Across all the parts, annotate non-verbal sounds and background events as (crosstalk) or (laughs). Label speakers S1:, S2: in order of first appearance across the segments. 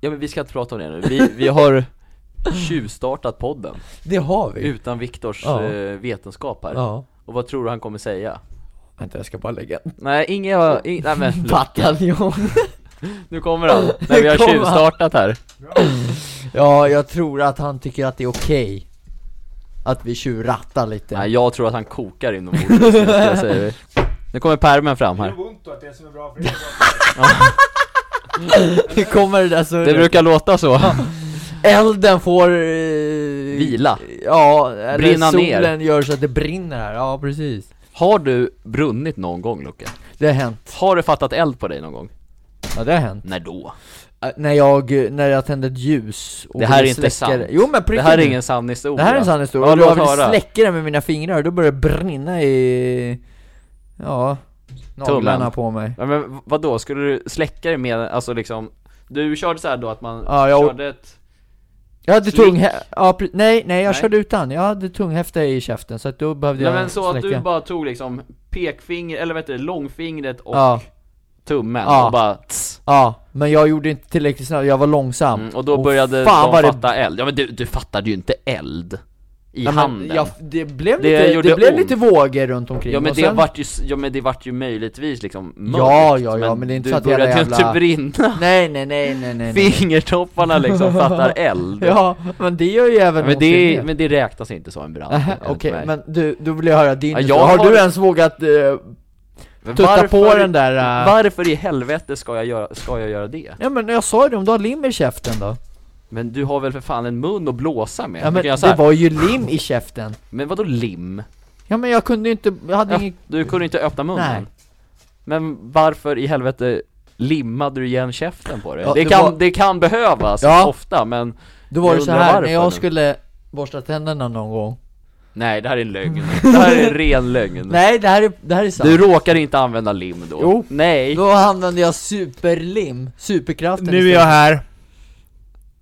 S1: Ja men vi ska inte prata om det nu, vi, vi
S2: (laughs)
S1: har tjuvstartat podden
S2: Det har vi!
S1: utan Viktors
S2: Ja.
S1: eh, vetenskap här
S2: Ja.
S1: Och vad tror du han kommer säga?
S2: Vänta jag ska bara lägga
S1: Nej, ingen har, ing, nej
S2: (laughs)
S1: men
S2: bataljon
S1: nu kommer han! Nej vi har
S2: Nu kommer han.
S1: tjuvstartat här
S2: (laughs) Ja, jag tror att han tycker att det är okej Att vi tjurrattar lite
S1: Nej jag tror att han kokar inombords just nu, ska jag säga
S2: (laughs)
S1: det. Nu kommer pärmen fram
S3: Det
S1: här
S3: är ont att det som är bra för er är bra
S2: Nu kommer (laughs) det där surret
S1: Det brukar låta så
S2: Elden får... eh,
S1: Vila.
S2: Ja, eller
S1: Brinna ner.
S2: solen gör så att det brinner här, ja precis
S1: Har du brunnit någon gång Luke?
S2: Det har hänt,
S1: Har du fattat eld på dig någon gång?
S2: ja det har hänt
S1: När då?
S2: Äh, När jag, när jag tände ett ljus och
S1: Det här är
S2: ville
S1: inte
S2: släcka
S1: sant.
S2: det. Jo men på
S1: Det här är
S2: riktigt nu.
S1: ingen sann historia
S2: Det här är en sann historia,
S1: Ja,
S2: och jag
S1: låt
S2: ville
S1: höra.
S2: släcka det med mina fingrar och då började det brinna i... Ja, naglarna
S1: Tummen.
S2: på mig
S1: Ja, men vadå, skulle du släcka det med, alltså liksom Du körde så här då att man
S2: Ja, jag-
S1: körde ett
S2: Jag hade
S1: Slick.
S2: tung hä- ja, pre- nej, nej jag
S1: Nej.
S2: körde utan, jag hade tunghäfta i käften så att då behövde
S1: Nej
S2: jag
S1: men så att
S2: släcka
S1: du bara tog liksom pekfinger, eller vad heter det, långfingret och
S2: Ja,
S1: tummen
S2: Ja.
S1: och bara tss.
S2: ja, men jag gjorde inte tillräckligt snabbt, jag var långsam
S1: Mm, Och då
S2: Åh,
S1: började
S2: fan
S1: de
S2: vad det-
S1: fatta eld, ja men du, du fattade ju inte eld i
S2: Ja, men
S1: handen
S2: jag- det blev,
S1: Det
S2: lite,
S1: gjorde
S2: det blev
S1: ont.
S2: lite vågor runt omkring
S1: Ja men,
S2: och
S1: det
S2: sen-
S1: vart ju, s- ja men det vart ju möjligtvis liksom mörkt,
S2: Ja, ja, ja, men det är inte
S1: du
S2: så att
S1: började
S2: jävla
S1: ju inte
S2: jävla-
S1: brinna
S2: (laughs) Nej nej nej nej nej, nej.
S1: Fingertopparna liksom fattar eld
S2: (laughs) Ja, men det gör ju även
S1: men,
S2: ont i
S1: det,
S2: det.
S1: men det räknas inte som en brand
S2: Nähä,
S1: enligt
S2: (laughs) Okej,
S1: mig.
S2: men du, då vill jag höra din
S1: Ja,
S2: historia.
S1: jag
S2: Har
S1: har-
S2: du ens vågat eh,
S1: Men
S2: tutta på
S1: varför-
S2: den där... eh,
S1: Varför i helvete ska jag, göra, ska jag göra det?
S2: Ja men jag sa ju det, om du har lim i käften då?
S1: Men du har väl för fan en mun att blåsa med?
S2: Ja
S1: Du
S2: men
S1: kan göra
S2: det
S1: så här,
S2: var ju lim i käften
S1: Men vadå lim?
S2: Ja men jag kunde ju inte, jag hade
S1: Ja,
S2: ingen...
S1: du kunde inte öppna munnen
S2: Nej.
S1: Men varför i helvete limmade du igen käften på dig?
S2: Ja,
S1: det,
S2: det
S1: kan,
S2: var-
S1: det kan behövas
S2: Ja.
S1: ofta men
S2: Då var
S1: jag
S2: det så
S1: undrar
S2: här
S1: varför
S2: när jag
S1: nu.
S2: skulle borsta tänderna någon gång
S1: Nej det här är en lögn, det här är en ren lögn
S2: Mm. Nej det här är, det här är sant
S1: Du råkade inte använda lim då?
S2: Jo.
S1: Nej!
S2: Då använde jag superlim, superkraften
S3: Nu är
S2: istället.
S3: jag här.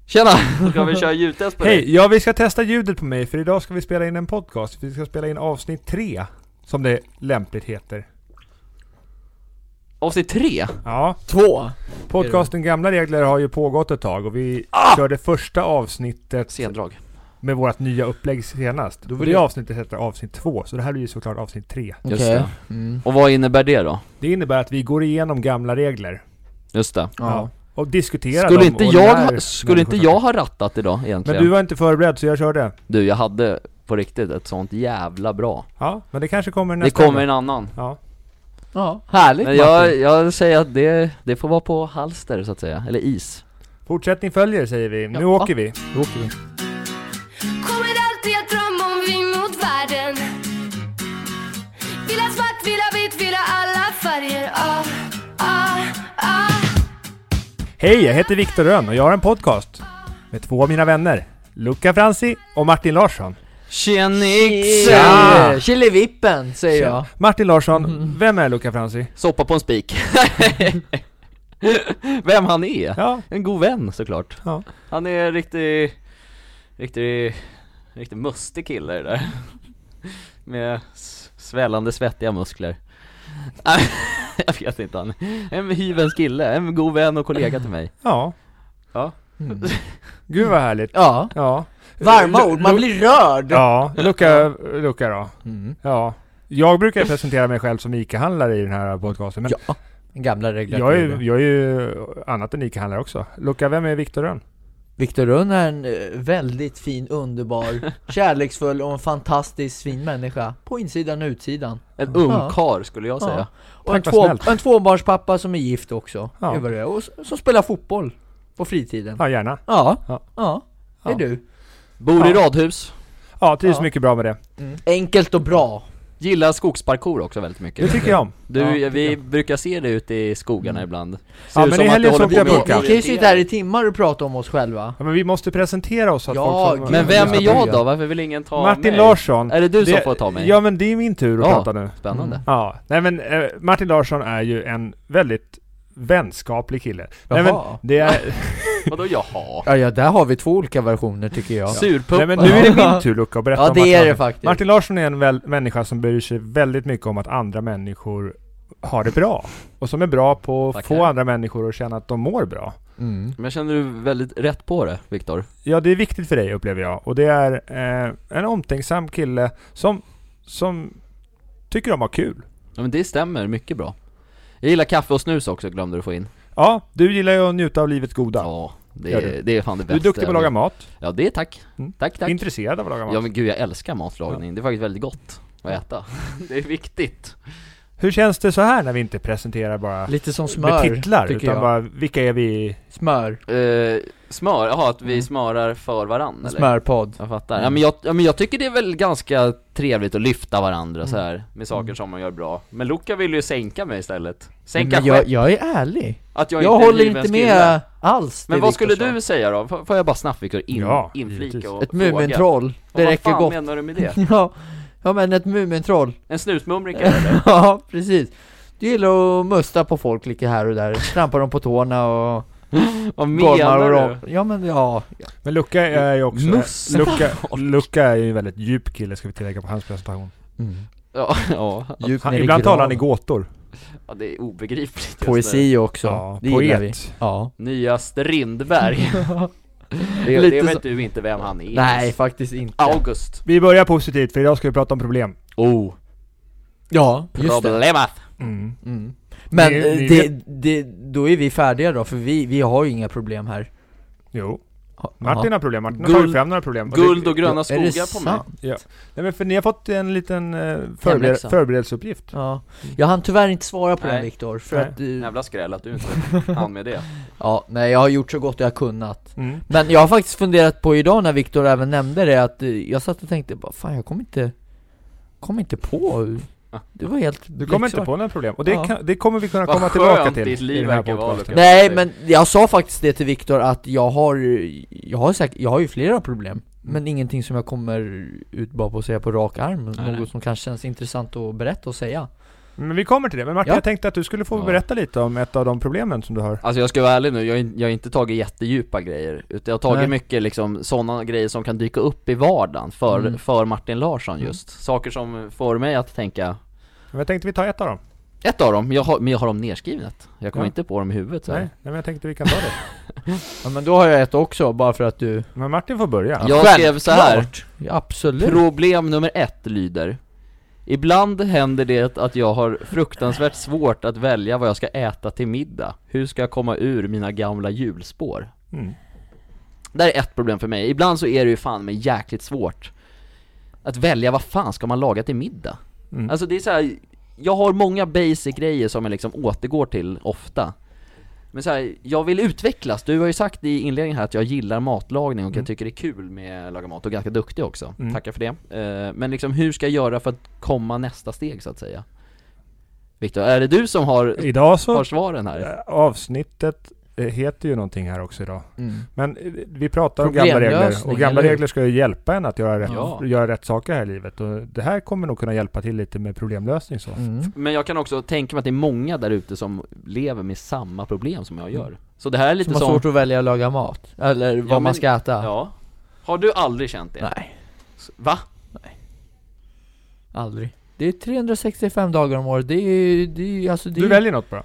S1: Tjena! Ska vi köra ljudtest på dig?
S3: Hej! Ja, vi ska testa ljudet på mig för idag ska vi spela in en podcast. Vi ska spela in avsnitt tre, som det lämpligt heter.
S1: Avsnitt tre?
S3: Ja,
S2: Två!
S3: podcasten Gamla Regler har ju pågått ett tag och vi
S1: Ah!
S3: körde första avsnittet
S1: Sendrag
S3: med vårt nya upplägg senast. Då vill
S2: det-
S3: det avsnittet heta avsnitt två, så det här blir ju såklart avsnitt tre.
S2: Okej
S1: Just det.
S2: mm.
S1: Och vad innebär det då?
S3: Det innebär att vi går igenom gamla regler.
S1: Just det
S2: ja.
S3: Och diskuterar
S1: Skulle
S3: dem
S1: inte
S3: och
S1: jag,
S3: lär
S1: ha- skulle inte
S3: människor
S1: jag ha rattat idag
S3: saker.
S1: egentligen?
S3: Men du var inte förberedd så jag körde.
S1: Du, jag hade på riktigt ett sånt jävla bra.
S3: Ja, men det kanske kommer
S1: Det
S3: nästa
S1: kommer
S3: gång.
S1: en annan.
S3: Ja.
S2: ja, härligt
S1: Men
S2: Martin
S1: jag, jag säger att det, det får vara på halster så att säga, eller is.
S3: Fortsättning följer säger vi. Nu
S2: Ja.
S3: åker vi.
S2: Då åker vi.
S4: Kommer alltid att drömma om vi mot världen Vill ha svart, vill ha vitt, vill ha alla färger ah, ah, ah.
S3: Hej, jag heter Viktor Rönn och jag har en podcast med två av mina vänner. Luca Franzi och Martin Larsson.
S1: Tjenixen!
S3: Tja!
S2: Chili- Chilivippen säger jag
S3: Martin Larsson,
S2: Mm.
S3: vem är Luca Franzi?
S1: Soppa på en spik. (laughs) Vem han är?
S3: Ja,
S1: En god vän såklart.
S3: Ja.
S1: Han är en riktig, riktig, riktig mustig kille det där. Med s- svällande svettiga muskler. (laughs) Jag vet inte han. En hyvens kille, en god vän och kollega till mig.
S3: ja.
S1: Ja.
S2: Mm.
S3: Gud vad härligt.
S2: Ja,
S3: Ja.
S2: varma ord, man blir rörd!
S3: Ja, Luca, Luca då.
S2: Mm.
S3: Ja. Jag brukar presentera mig själv som ICA-handlare i den här podcasten, men
S2: Ja, gamla regler
S3: jag, är, jag är ju annat än ICA-handlare också. Luca, vem är Viktor Rönn?
S2: Viktor Rönn är en eh, väldigt
S1: (laughs)
S2: fin, underbar, kärleksfull och en fantastisk fin människa På insidan och utsidan
S1: En ung
S2: Ja.
S1: karl skulle jag
S2: Ja.
S1: säga.
S2: Och en,
S3: Tack, vad
S2: två,
S3: snällt.
S2: en tvåbarnspappa som är gift också,
S3: Ja.
S2: det var det. och s- som spelar fotboll på fritiden
S3: Ja, gärna.
S2: Ja,
S3: Ja.
S2: ja,
S3: Ja.
S2: det är du
S1: Bor i
S3: Ja.
S1: radhus.
S3: Ja, trivs
S2: Ja.
S3: mycket bra med det.
S2: Enkelt och bra
S1: Gillar skogsparkour också väldigt
S3: Det
S1: mycket.
S3: tycker jag om.
S1: Du,
S2: Ja,
S1: vi brukar se det ute i skogarna ibland.
S3: Ja, men i helgen så åkte
S2: Vi,
S3: jag
S2: vi,
S3: pulka.
S2: vi kan ju sitta här i timmar och prata om oss själva
S3: Ja, men vi måste presentera oss så att
S2: Ja,
S3: folk får-
S2: gud.
S1: Men vem är
S2: Martin
S1: jag då? Varför vill ingen ta
S3: Martin
S1: mig?
S3: Larsson.
S1: Är det du som
S3: Det-
S1: får ta mig?
S3: Ja, Mm. men det är min tur att
S1: Ja.
S3: prata nu.
S1: Spännande.
S3: Ja, nej men eh, Martin Larsson är ju en väldigt vänskaplig kille. Nej, men
S2: Jaha.
S1: (laughs)
S3: det är,
S1: Vadå jaha?
S2: Ja, ja, där har vi två olika versioner tycker jag
S1: Surpuppa?
S3: nej, men nu är det min tur Luca att berätta
S2: Ja
S3: om
S2: det
S3: Martin
S2: är det
S3: Larsson.
S2: faktiskt
S3: Martin Larsson är en väl, människa som bryr sig väldigt mycket om att andra människor har det bra. Och som är bra på att
S1: Tackar.
S3: få andra människor att känna att de mår bra.
S2: Mm.
S1: Men jag känner du väldigt rätt på det, Viktor.
S3: Ja, det är viktigt för dig upplever jag. Och det är eh, en omtänksam kille som, som tycker om att ha kul.
S1: Ja men det stämmer mycket bra. Jag gillar kaffe och snus också, glömde du få in.
S3: Ja, du gillar ju att njuta av livets goda.
S1: Ja, det,
S3: Gör
S1: är, det är fan det
S3: du är
S1: bästa.
S3: duktig på att laga mat.
S1: Ja det är tack.
S3: Mm.
S1: Tack tack.
S3: Intresserad av att laga mat.
S1: Ja men gud jag älskar matlagning, det är faktiskt väldigt gott att äta. (laughs) Det är viktigt.
S3: Hur känns det så här när vi inte presenterar bara
S2: Lite som
S3: med
S2: smör,
S3: titlar,
S2: tycker
S3: utan
S2: jag.
S3: bara vilka är vi?
S2: Smör.
S1: Eh, smör, jaha att vi
S2: Mm.
S1: smörar för varandra eller?
S2: Smörpodd.
S1: Jag fattar. Ja, men jag, ja, men jag tycker det är väl ganska trevligt att lyfta varandra så här med saker
S2: Mm.
S1: som man gör bra. Men Luca vill ju sänka mig istället. Sänka
S2: Men jag,
S1: själv,
S2: jag är ärlig.
S1: att jag,
S2: Jag,
S1: inte är
S2: håller
S1: given
S2: inte
S1: skilla.
S2: med alls till
S1: Men vad skulle
S2: Viktorsson.
S1: du säga då? Får får jag bara snabbt Viktor in,
S3: Ja, givetvis.
S1: inflika och
S2: Ett Mumintroll.
S1: fråga?
S2: Det
S1: Och
S2: räcker
S1: Vad fan
S2: gott.
S1: menar du med
S2: (laughs)
S1: det?
S2: Ja, ja men ett Mumintroll.
S1: En snusmumrika
S2: (laughs)
S1: eller?
S2: ja, precis. Du gillar att musta på folk lite här och där, trampa dem på tårna och
S1: Vad
S2: gormar och
S1: menar
S2: ram-
S1: du? (laughs)
S2: Ja men ja,
S3: Men Luca är ju också...
S1: Muss.
S3: Luca, Luca är ju en väldigt djup kille ska vi tillägga på hans presentation.
S2: Mm.
S1: Ja, ja,
S2: djupt
S3: Han,
S2: ner i
S3: ibland talar han i
S2: graven.
S3: gåtor.
S1: ja, det är obegripligt just nu.
S2: Poesi också,
S3: Ja,
S2: det gillar vi.
S3: poet.
S2: Ja.
S1: Nyaste
S2: (laughs)
S1: Rindberg. det,
S2: Lite
S1: det vet
S2: så-
S1: du inte vem han är.
S2: (laughs) Nej faktiskt inte.
S1: August.
S3: Vi börjar positivt för idag ska vi prata om problem.
S1: Oh.
S2: Ja, just det.
S1: Problemet.
S3: Mm.
S2: Mm. Men
S3: Ni-
S2: eh,
S3: ni
S2: det, det, då är vi färdiga då, för vi, vi har ju inga problem här.
S3: Jo,
S2: Ha-
S3: Martin
S2: jaha.
S3: har problem. Martin har
S2: Guld-
S3: tagit fram några problem. det-
S1: Guld och gröna
S2: är det
S1: skogar på mig.
S2: sant?
S3: Nej, men för ni har fått en liten eh,
S2: Hemläxa.
S3: förber- förberedelseuppgift.
S2: Ja. Jag hann tyvärr inte svara på den
S1: Nej.
S2: Viktor, för
S3: Nej.
S2: att eh,
S1: Jävla skräll att du inte
S2: (laughs)
S1: hann med det.
S2: Ja, nej jag har gjort så gott jag har kunnat.
S3: Mm.
S2: Men jag har faktiskt funderat på idag när Viktor även nämnde det att eh, jag satt och tänkte bara fan jag kom inte kom inte på Det var helt
S3: Du kommer inte på några problem. Och det,
S2: Ja.
S3: kan, det kommer vi kunna
S1: Vad
S3: komma tillbaka
S1: skönt
S3: till
S1: ditt liv
S3: i den här
S1: verkar vara,
S3: podcasten.
S1: Lukas.
S2: Nej men jag sa faktiskt det till Viktor att jag har jag har säkert, jag har ju flera problem
S1: Mm.
S2: men ingenting som jag kommer ut bara på att säga på rak arm,
S1: nej.
S2: något som kanske känns intressant att berätta och säga
S3: Men vi kommer till det. Men Martin,
S2: Ja.
S3: jag tänkte att du skulle få
S1: Ja.
S3: berätta lite om ett av de problemen som du har.
S1: Alltså jag ska vara ärlig nu, jag har, in- jag har inte tagit jättedjupa grejer Utan jag har tagit
S2: Nej.
S1: mycket liksom sådana grejer som kan dyka upp i vardagen för,
S2: Mm.
S1: för Martin Larsson
S2: Mm.
S1: just Saker som får mig att tänka
S3: Men jag tänkte vi tar ett av dem.
S1: Ett av dem, jag har, men jag har dem nedskrivet Jag kommer
S3: Ja.
S1: inte på dem i huvudet så
S3: Nej, nej,
S1: här.
S3: men jag tänkte vi kan ta det.
S2: Ja men då har jag ett också, bara för att du
S3: Men Martin får börja.
S1: Jag skrev så här.
S2: Självklart. Ja, absolut
S1: Problem nummer ett lyder Ibland händer det att jag har fruktansvärt svårt att välja vad jag ska äta till middag Hur ska jag komma ur mina gamla hjulspår?
S3: Mm.
S1: Det här är ett problem för mig, ibland så är det ju fan med jäkligt svårt Att välja vad fan ska man laga till middag?
S3: Mm.
S1: Alltså det är så här. jag har många basic grejer som jag liksom återgår till ofta Men så här, jag vill utvecklas, du har ju sagt i inledningen här att jag gillar matlagning
S2: Mm.
S1: och jag tycker det är kul med att laga mat och ganska duktig också,
S3: Mm.
S1: tackar för det Eh, Men liksom hur ska jag göra för att komma nästa steg så att säga? Viktor, är det du som har,
S3: Idag så...
S1: har svaren här?
S3: eh, Avsnittet eh, heter ju någonting här också idag.
S2: mm.
S3: Men eh, vi pratar om gamla regler
S2: Problemlösning,
S3: och gamla
S2: eller hur?
S3: regler ska ju hjälpa en att göra rätt,
S1: Ja.
S3: göra rätt saker här i livet och det här kommer nog kunna hjälpa till lite med problemlösning så.
S2: Mm.
S1: Men jag kan också tänka mig att det är många där ute som lever med samma problem som jag gör Så det här är lite
S2: Som har svårt att välja att laga mat, eller vad
S1: Ja, men-
S2: man ska äta
S1: Ja. Har du aldrig känt det?
S2: Nej,
S1: Va?
S2: aldrig. Det är 365 dagar om året, det är det är, alltså det är,
S3: Du väljer något bara.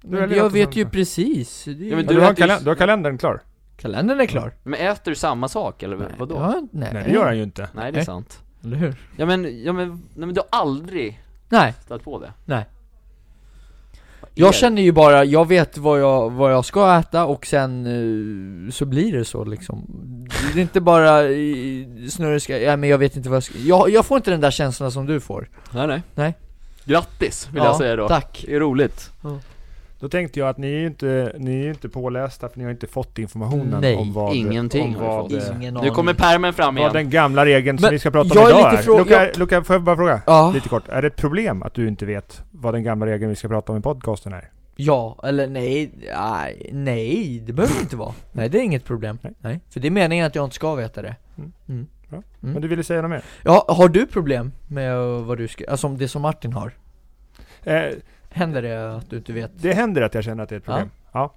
S2: Men
S3: väljer
S2: Jag
S3: något
S2: vet
S3: som-
S2: ju precis, det är,
S1: Ja, men
S3: Ja,
S1: du
S3: Du, har
S1: äter ju-
S3: kalend- du har kalendern klar?
S2: kalendern är klar.
S1: Men äter du samma sak eller vadå?
S2: Ja, nej.
S3: Nej det gör han ju inte.
S1: Nej det är
S2: Nej.
S1: sant.
S2: Eller hur?
S1: Ja men, ja men, nej men du har aldrig
S2: Nej,
S1: stött på det?
S2: Nej.
S1: Vad är
S2: jag
S1: det?
S2: känner ju bara, jag vet vad jag, vad jag ska äta och sen eh, så blir det så liksom Det är inte bara eh, snurriska, ja, men jag vet inte vad jag ska, jag, jag får inte den där känslan som du får
S1: Nej nej.
S2: Nej.
S1: Grattis vill
S2: ja,
S1: jag säga då.
S2: tack
S1: Det är roligt.
S3: Då tänkte jag att ni är ju inte, ni är ju inte pålästa för ni har inte fått informationen
S2: Nej,
S3: om vad...
S1: ingenting
S3: om
S1: har
S3: vad,
S1: du
S3: eh,
S2: Ingen
S1: Nu
S2: aning
S1: kommer pärmen fram
S3: vad
S1: igen.
S3: den gamla regeln som
S2: Men
S3: vi ska prata
S2: jag Ah.
S3: om
S2: är
S3: idag
S2: lite
S3: är.
S2: frå-
S3: Luca, Luca, får jag bara fråga?
S2: Ja,
S3: Lite kort. Är det ett problem att du inte vet vad den gamla regeln vi ska prata om i podcasten
S2: Mm.
S3: är?
S2: Ja, eller nej, nej, nej det behöver det inte vara. Nej det är inget problem.
S3: Nej.
S2: Nej. För det är meningen att jag inte ska veta det. Mm.
S3: Men du ville säga något mer?
S2: Ja, har du problem med eh, vad du ska, alltså om det som Martin har?
S3: Eh,
S2: Händer det att du inte vet?
S3: det händer att jag känner att det är ett problem. Ja.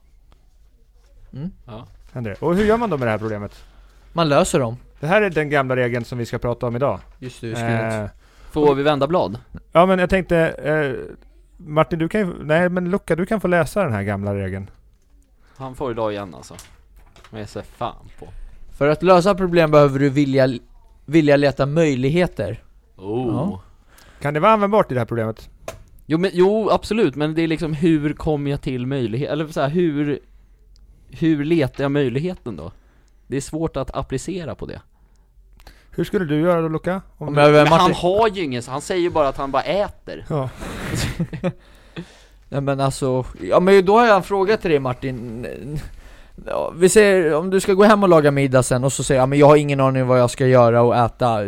S2: Mm.
S1: Ja.
S3: Händer det. Och hur gör man då med det här problemet?
S2: Man löser dem.
S3: Det här är den gamla regeln som vi ska prata om idag.
S2: Just det, du skrev
S3: Eh,
S1: Får vi vända blad?
S3: Ja men jag tänkte, eh, Martin, du kan ju, Nej, men Luca, du kan få läsa den här gamla regeln.
S1: Han får idag igen alltså. Men jag ser fan på.
S2: För att lösa problem behöver du vilja, vilja leta möjligheter.
S1: Oh.
S2: Ja.
S3: Kan det vara användbart i det här problemet?
S1: Jo, men, jo absolut, men det är liksom hur kom jag till möjlighet, eller så här, hur, hur letar jag möjligheten då? Det är svårt att applicera på det.
S3: Hur skulle du göra då Luca? Om
S2: Om
S3: du-
S2: jag,
S1: Men
S2: Martin,
S1: han har ju ingen, så han säger ju bara att han bara äter.
S3: Ja.
S2: Nej men alltså, ja men då har jag en fråga till dig Martin ja, Vi säger, om du ska gå hem och laga middag sen och så säger jag, "Ja, men jag har ingen aning om vad jag ska göra och äta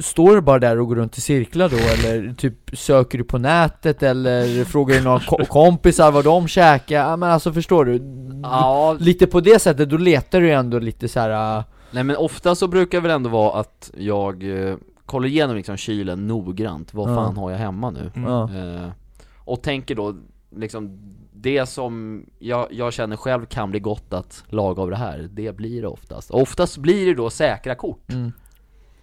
S2: Står du bara där och går runt i cirklar då eller typ söker du på nätet eller frågar du några ko- kompisar vad de käkar? Ja men alltså förstår du?
S1: Ja,
S2: Lite på det sättet, då letar du ju ändå lite så här. äh,
S1: nej men ofta så brukar det väl ändå vara att jag eh, kollar igenom liksom kylen noggrant, vad
S2: Ja.
S1: fan har jag hemma nu?
S3: Mm.
S2: ja.
S1: Eh, och tänker då liksom det som jag, jag känner själv kan bli gott att laga av det här, det blir det oftast. Och Oftast blir det då säkra kort.
S2: mm.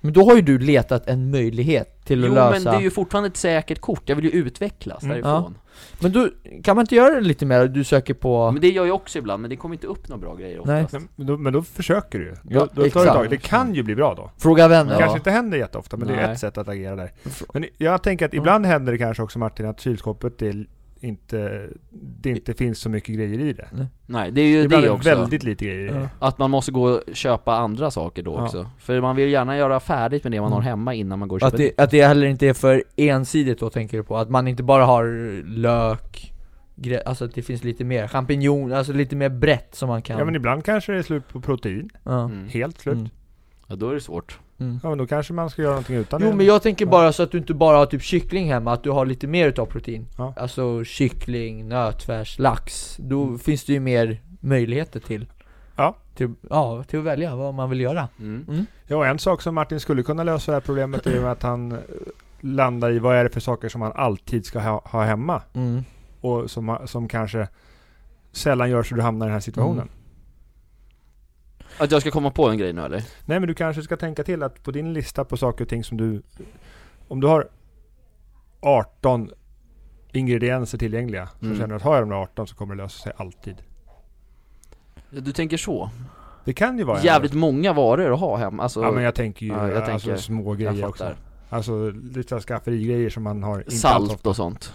S2: Men då har ju du letat en möjlighet till att
S1: Jo
S2: lösa
S1: men det är ju fortfarande ett säkert kort, jag vill ju utvecklas
S3: Mm.
S1: därifrån
S2: Men då, kan man inte göra det lite mer? Du söker på...
S1: Men det gör jag också ibland, men det kommer inte upp några bra grejer
S2: Nej.
S1: oftast
S3: Men då, men då försöker du ju. Då,
S2: Ja,
S3: då tar du
S2: exakt.
S3: tag. Det kan ju bli bra då.
S2: Fråga vänner
S1: Ja.
S3: kanske inte händer jätteofta, men det är
S1: Nej.
S3: ett sätt att agera där. Men jag tänker att ibland händer det kanske också Martin att kylskåpet är inte, det inte finns så mycket grejer i det.
S1: Nej, det är ju
S3: Ibland
S1: det
S3: är
S1: också,
S3: det väldigt lite grejer i
S2: Ja.
S3: det.
S1: att man måste gå och köpa andra saker då
S3: Ja.
S1: också För man vill ju gärna göra färdigt med det man
S2: Mm.
S1: har hemma innan man går och
S2: Att
S1: köper
S2: det, att det heller inte är för ensidigt då tänker du på? Att man inte bara har lök, gre- alltså att det finns lite mer champinjoner, alltså lite mer brett som man kan
S3: Ja men ibland kanske det är slut på protein.
S2: Ja.
S1: mm.
S3: Helt slut.
S2: Mm.
S1: Ja då är det svårt
S2: Mm.
S3: Ja men då kanske man ska göra någonting utan
S2: Jo
S3: det.
S2: men jag tänker
S3: Ja.
S2: bara så att du inte bara har typ kyckling hemma, att du har lite mer utav protein
S3: Ja.
S2: Alltså kyckling, nötfärs, lax, då finns det ju mer möjligheter till
S3: Mm. Ja.
S2: Till, ja, till att välja vad man vill göra
S1: mm.
S3: Ja, och en sak som Martin skulle kunna lösa det här problemet är ju att han eh, landar i vad är det för saker som han alltid ska ha, ha hemma
S2: mm.
S3: och som, ha- som kanske sällan gör så du hamnar i den här situationen.
S2: Mm.
S1: Att jag ska komma på en grej nu eller?
S3: Nej men du kanske ska tänka till att på din lista på saker och ting som du... Om du har 18 ingredienser tillgängliga så
S1: Mm.
S3: känner du att har jag de där 18 så kommer det lösa sig alltid.
S1: Ja, Du tänker så?
S3: Det kan ju vara en-
S1: Jävligt många varor att ha hemma, alltså
S3: Ja men jag tänker ju
S1: Ja, jag
S3: alltså,
S1: tänker-
S3: små
S1: jag
S3: grejer också.
S1: fattar.
S3: Alltså lite skafferigrejer som man har inte alls
S1: Salt och sånt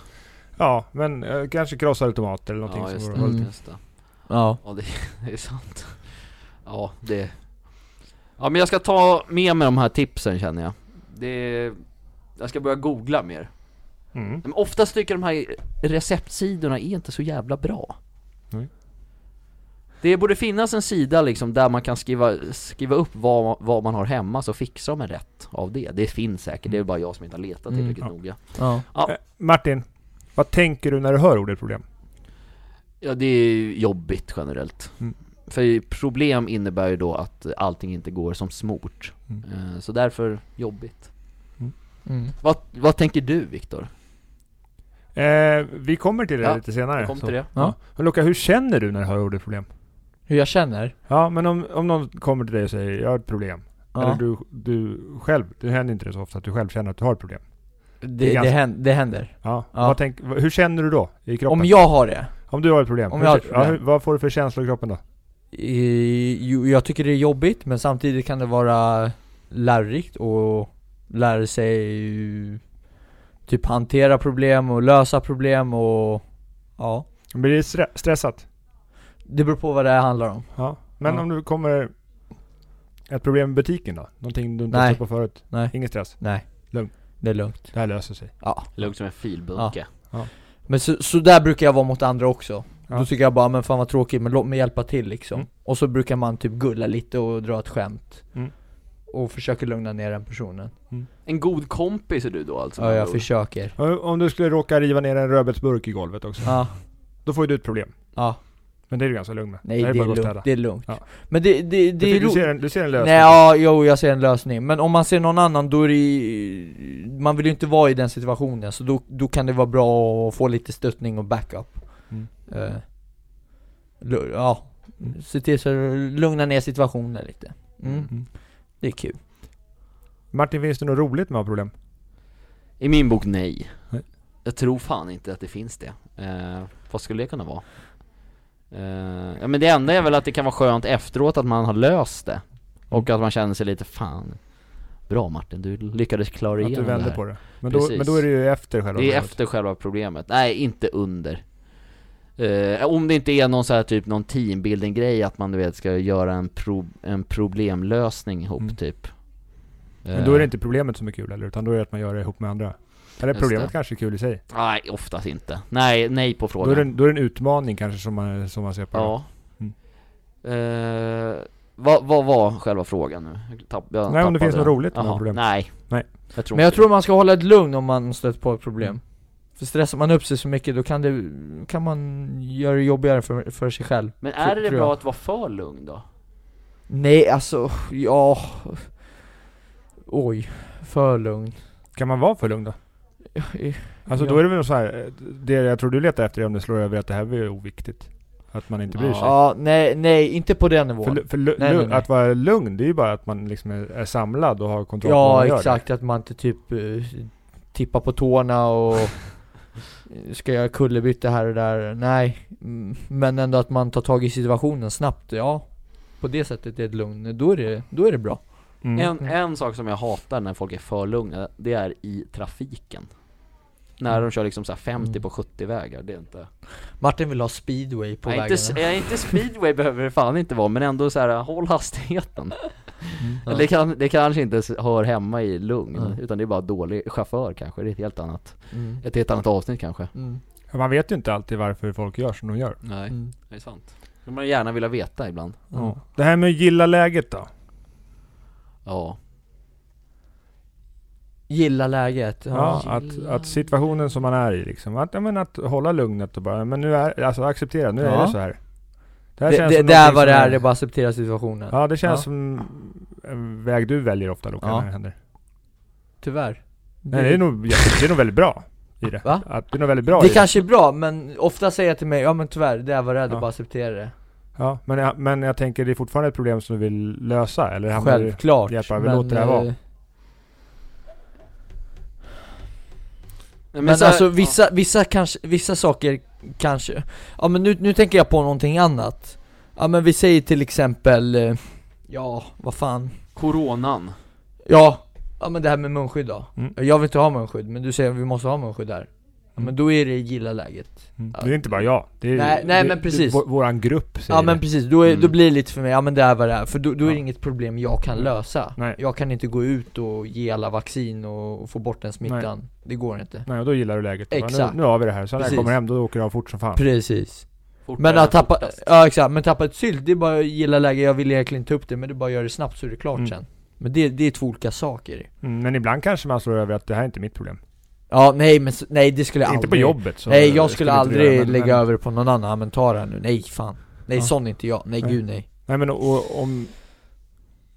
S3: Ja, men eh, kanske krossade tomater eller någonting
S1: Ja
S3: som
S1: just
S3: går
S1: det,
S3: att hålla-
S2: Mm.
S1: just det
S2: Ja
S1: Ja det, det är (laughs) sant Ja det Ja men jag ska ta med mig de här tipsen känner jag Det Jag ska börja googla mer
S3: mm.
S1: Men oftast tycker jag de här receptsidorna är inte så jävla bra
S3: Nej.
S1: Det borde finnas en sida liksom där man kan skriva, skriva upp vad, vad man har hemma så fixar man rätt av det Det finns säkert, det är bara jag som inte har letat
S2: Mm,
S1: tillräckligt
S3: ja.
S1: noga
S2: Ja,
S3: Eh, Martin, vad tänker du när du hör ordet problem?
S1: Ja det är ju jobbigt generellt
S3: Mm.
S1: För problem innebär ju då att allting inte går som smort
S3: Mm.
S1: Eh, Så därför jobbigt
S2: mm.
S1: Vad, vad tänker du Viktor?
S3: Eh, vi kommer till det
S1: Ja,
S3: lite senare.
S1: Kom
S3: så.
S1: till det
S3: Ja. Men Luca, hur känner du när du hör ordet problem?
S2: Hur jag känner?
S3: Ja, men om, om någon kommer till dig och säger jag har ett problem. Eller
S2: Ja.
S3: du, du själv, det händer inte det så ofta att du själv känner att du har ett problem.
S2: Det, det,
S3: ganska-
S2: händer, det händer.
S3: Ja.
S2: Ja.
S3: Vad tänk, vad- hur känner du då i kroppen?
S2: Om jag har det,
S3: Om du har ett problem?
S2: Om
S3: hur,
S2: jag har ett
S3: kä- Ja,
S2: problem.
S3: hur, vad får du för känslor i kroppen då?
S2: i- jo, jag tycker det är jobbigt men samtidigt kan det vara lärorikt och lära sig typ hantera problem och lösa problem och ja.
S3: Blir det stre- stressat?
S2: Det beror på vad det här handlar om.
S3: Ja. Men
S2: Ja.
S3: om du kommer ett problem i butiken då? Någonting du inte
S2: Nej.
S3: har sett på förut?
S2: Nej.
S3: Ingen stress?
S2: Nej.
S3: Lugn.
S2: Det är lugnt.
S3: Det här löser sig.
S2: Ja.
S1: Lugnt som en filbunke
S2: Men så, så där brukar jag vara mot andra också.
S3: Ja.
S2: Då tycker jag bara, men fan vad tråkigt, men låt mig hjälpa till liksom.
S3: Mm.
S2: Och så brukar man typ gulla lite och dra ett skämt.
S3: Mm.
S2: Och försöker lugna ner den personen.
S1: En god kompis är du då alltså?
S2: Ja, jag försöker.
S3: Ja, Om du skulle råka riva ner en rödbetsburk i golvet också?
S2: Ja,
S3: Då får ju du ett problem.
S2: ja.
S3: Men det är du ganska lugn med.
S2: Nej det
S3: här
S2: är,
S3: bara att gå och
S2: lugnt,
S3: städa.
S2: det är lugnt.
S3: Ja.
S2: Men det, det, det
S3: Du,
S2: är
S3: du,
S2: roligt.
S3: ser en, du ser en lösning?
S2: Nej, ja, jo, jag ser en lösning. Men om man ser någon annan, då är det ju- Man vill ju inte vara i den situationen, så då, då kan det vara bra att få lite stöttning och backup.
S3: Mm.
S2: Eh, lu- ja, se till så lugna ner situationen lite. Mm,
S3: Mm.
S2: det är kul.
S3: Martin, finns det något roligt med att ha problem?
S1: I min bok nej
S3: Nej.
S1: Jag tror fan inte att det finns det. Eh, vad skulle det kunna vara? Eh, ja men det enda är väl att det kan vara skönt efteråt att man har löst det. Och
S3: Mm.
S1: att man känner sig lite fan, bra Martin, du lyckades klara
S3: Att du
S1: igenom det
S3: vänder
S1: här.
S3: på det. Men då,
S1: Precis.
S3: men då är det ju efter själva
S1: Det är
S3: brevet.
S1: efter själva problemet, nej inte under Eh, Om det inte är någon så här typ någon teambuilding grej att man du vet ska göra en, pro- en problemlösning ihop
S3: Mm.
S1: typ
S3: Men då är det
S1: Eh,
S3: inte problemet som är kul eller? Utan då är det att man gör det ihop med andra. Eller
S1: Just
S3: problemet
S1: det.
S3: kanske är kul i sig.
S1: Eh, Nej oftast inte, nej, nej på
S3: Då är, det
S1: frågan
S3: en, då är det en utmaning kanske som man, som man ser på.
S1: Ja
S3: Mm.
S1: Eh, Vad vad var själva frågan nu? Jag tapp, jag
S3: Nej, om
S1: tappade
S3: det finns något
S1: den.
S3: roligt med
S1: Jaha,
S3: problemet.
S1: Nej
S3: Nej.
S1: jag tror
S2: Men jag
S1: inte
S2: tror man ska hålla ett lugn om man stött på ett problem
S3: Mm.
S2: För stressar man upp sig så mycket då kan det, kan man göra det jobbigare för, för sig själv
S1: Men är det
S2: tror
S1: bra
S2: jag.
S1: att vara för lugn då?
S2: Nej alltså, ja... Oj, för lugn
S3: Kan man vara för
S1: (laughs)
S3: lugn då? Alltså
S2: Ja.
S3: då är det väl så här, eh, det jag tror du letar efter är om det slår över att det här är oviktigt. Att man inte bryr sig.
S2: Ja, nej, nej, inte på den nivån
S3: För, lu- för lu-
S2: Nej,
S3: lu-
S2: nej, nej.
S3: att vara lugn, det är ju bara att man liksom är, är samlad och har kontroll på vad
S2: Ja
S3: man gör.
S2: exakt, att man inte typ eh, tippar på tårna
S3: (laughs)
S2: och ska göra kullerbytta här och där, nej Mm, Men ändå att man tar tag i situationen snabbt, ja På det sättet är det ett lugn, då är det, då är det bra
S3: Mm.
S1: En, en sak som jag hatar när folk är för lugna, det är i trafiken När de kör liksom så här 50
S2: Mm.
S1: på 70 vägar, det är inte
S2: Martin vill ha speedway på
S1: nej, inte,
S2: vägarna
S1: s- nej, inte speedway behöver det fan inte vara, men ändå så här håll hastigheten
S3: Mm.
S2: Ja.
S1: det, kan, det kanske inte s- hör hemma i lugn,
S2: Nej.
S1: utan det är bara dålig chaufför kanske, det är ett helt annat
S2: mm.
S1: Ett helt annat avsnitt kanske
S2: Mm.
S3: Ja, Man vet ju inte alltid varför folk gör som de gör.
S1: Nej,
S2: Mm.
S1: det är sant Det man gärna vilja veta ibland
S2: Ja.
S3: Det här med att gilla läget då?
S1: Ja
S2: Gilla läget,
S3: Ja,
S2: ja,
S3: att, att situationen som man är i liksom. Att, ja, men att hålla lugnet och bara, men nu är, alltså acceptera, nu är
S2: Ja.
S3: det så här. här
S2: Det,
S3: känns
S2: det,
S3: som
S2: det är
S3: någonting
S2: vad det
S3: som
S2: är, det är bara att acceptera situationen
S3: Ja, det känns
S2: Ja.
S3: som en väg du väljer ofta Loke,
S2: Ja.
S3: när det händer.
S2: Tyvärr
S3: Nej, det är nog, ja, det är nog väldigt bra i det.
S2: Va?
S3: Att det är nog väldigt bra
S2: det
S3: i det.
S2: kanske är bra, men ofta säger jag till mig, ja men tyvärr, det är vad det är, det är
S3: Ja.
S2: bara att acceptera det
S3: Ja, men, jag, men jag tänker, det är fortfarande ett problem som du vill lösa? Eller hamnar du-
S2: Självklart,
S3: hjälpa, vi låter det här
S2: eh,
S3: vara.
S2: Men,
S1: Men, eh, så här-
S2: alltså vissa, vissa, kanske, vissa saker kanske, ja men nu, nu tänker jag på någonting annat Ja men vi säger till exempel, eh, ja vad fan,
S1: ja, Coronan
S2: ja, ja men det här med munskydd då
S3: Mm.
S2: Jag vill inte ha munskydd, men du säger att vi måste ha munskydd där Ja
S3: Mm.
S2: men då är det gilla läget
S3: Mm. Det är inte bara jag. Det är,
S2: Nej, nej,
S3: det,
S2: men precis.
S3: Det, vår, våran grupp säger
S2: Ja men
S3: det.
S2: precis, då, är, då
S1: Mm.
S2: blir det lite för mig, ja men det är vad det är, för då, då är det
S3: Ja. Mm.
S2: inget problem jag kan lösa
S3: Nej.
S2: Jag kan inte gå ut och ge alla vaccin och, och få bort den smittan, det går inte
S3: Nej, och då gillar du läget. Bara,
S2: Exakt.
S3: Nu, nu har vi det här. Så när jag
S2: Precis.
S3: kommer hem, då åker jag fort som fan.
S2: Precis
S1: fortare
S2: Men
S1: än
S2: att tappa,
S1: fortast.
S2: ja exakt, men tappa ett sylt, det är bara att gilla läge, jag vill egentligen ta upp det men det är bara att göra det snabbt så är det klart
S3: Mm.
S2: sen Men det, det är två olika saker
S3: Mm, men ibland kanske man slår över att det här är inte mitt problem.
S2: Ja nej men s- nej det skulle jag
S3: Inte
S2: aldrig
S3: på jobbet. Så
S2: Nej jag skulle
S3: inte
S2: aldrig
S3: göra, men-
S2: lägga
S3: men,
S2: över det på någon annan, ja, men ta det här nu, nej fan Nej
S3: Ja.
S2: sån är inte jag, nej,
S3: Nej.
S2: gud nej
S3: Nej men och, om...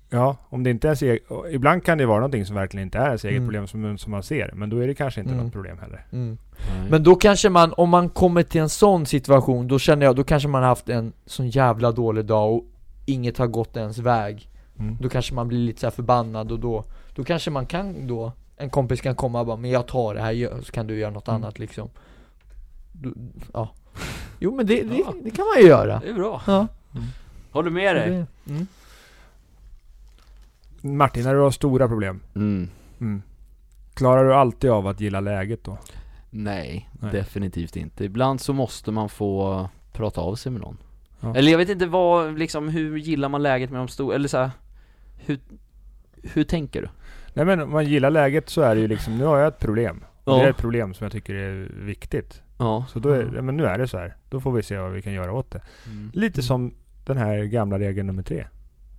S3: Ja, om det inte är ens e- och Ibland kan det vara någonting som verkligen inte är ens eget
S2: Mm.
S3: problem som, som man ser. Men då är det kanske inte
S2: Mm.
S3: något problem heller.
S2: mm.
S1: Nej.
S2: Men då kanske man, om man kommer till en sån situation, då känner jag, då kanske man har haft en sån jävla dålig dag och inget har gått ens väg
S3: Mm.
S2: Då kanske man blir lite så här förbannad och då, då kanske man kan då, en kompis kan komma och bara 'Men jag tar det här, gör- så kan du göra något
S3: Mm.
S2: annat' liksom Då- Ja Jo men det, det,
S1: Ja.
S2: det kan man ju göra
S1: Det är bra
S2: Ja.
S1: Håller med dig?
S2: Mm.
S3: Martin, när du har stora problem.
S1: Mm.
S3: Mm. Klarar du alltid av att gilla läget då?
S1: Nej,
S3: Nej.
S1: definitivt inte. Ibland så måste man få prata av sig med någon.
S3: Ja.
S1: Eller jag vet inte vad, liksom hur gillar man läget med de stora, eller så här, hur, hur tänker du?
S3: Nej men om man gillar läget så är det ju liksom, nu har jag ett problem.
S1: Ja.
S3: Och Det är ett problem som jag tycker är viktigt.
S1: Ja.
S3: Så då är, ja, men nu är det så här. Då får vi se vad vi kan göra åt det.
S1: Mm.
S3: Lite som den här gamla regeln nummer tre.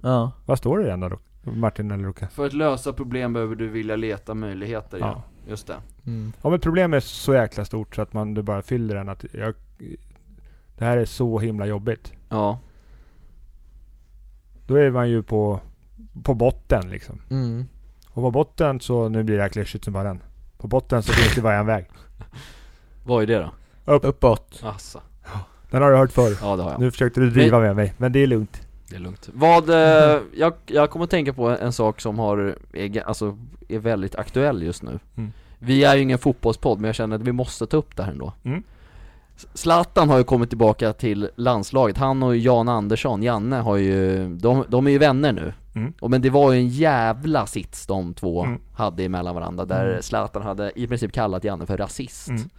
S2: Ja.
S3: Vad står det i den då? Martin eller Luca?
S1: För att lösa problem behöver du vilja leta möjligheter, ja.
S3: Ja.
S1: Just det.
S2: Mm.
S3: Om ett problem är så jäkla stort så att man du bara fyller den att jag, det här är så himla jobbigt.
S1: Ja.
S3: Då är man ju på, på botten liksom.
S2: Mm.
S3: Och på botten så, nu blir det här klyschigt som bara den. På botten så finns det bara en väg.
S1: Vad är det då?
S2: Uppåt
S1: Assa.
S3: Den har du hört förr.
S1: Ja det har jag.
S3: Nu försökte du driva med mig, men det är lugnt.
S1: Det är lugnt. Vad,
S3: (laughs)
S1: eh, jag, jag kommer att tänka på en sak som har, är, ga- alltså, är väldigt aktuell just nu.
S3: Mm.
S1: Vi är ju ingen fotbollspodd, men jag känner att vi måste ta upp det här ändå
S3: Mm.
S1: S- Zlatan har ju kommit tillbaka till landslaget, han och Jan Andersson, Janne har ju, de, de är ju vänner nu
S3: Mm.
S1: och, Men det var ju en jävla sits de två
S3: Mm.
S1: hade emellan varandra, där Zlatan hade i princip kallat Janne för rasist
S3: Mm.
S1: (laughs)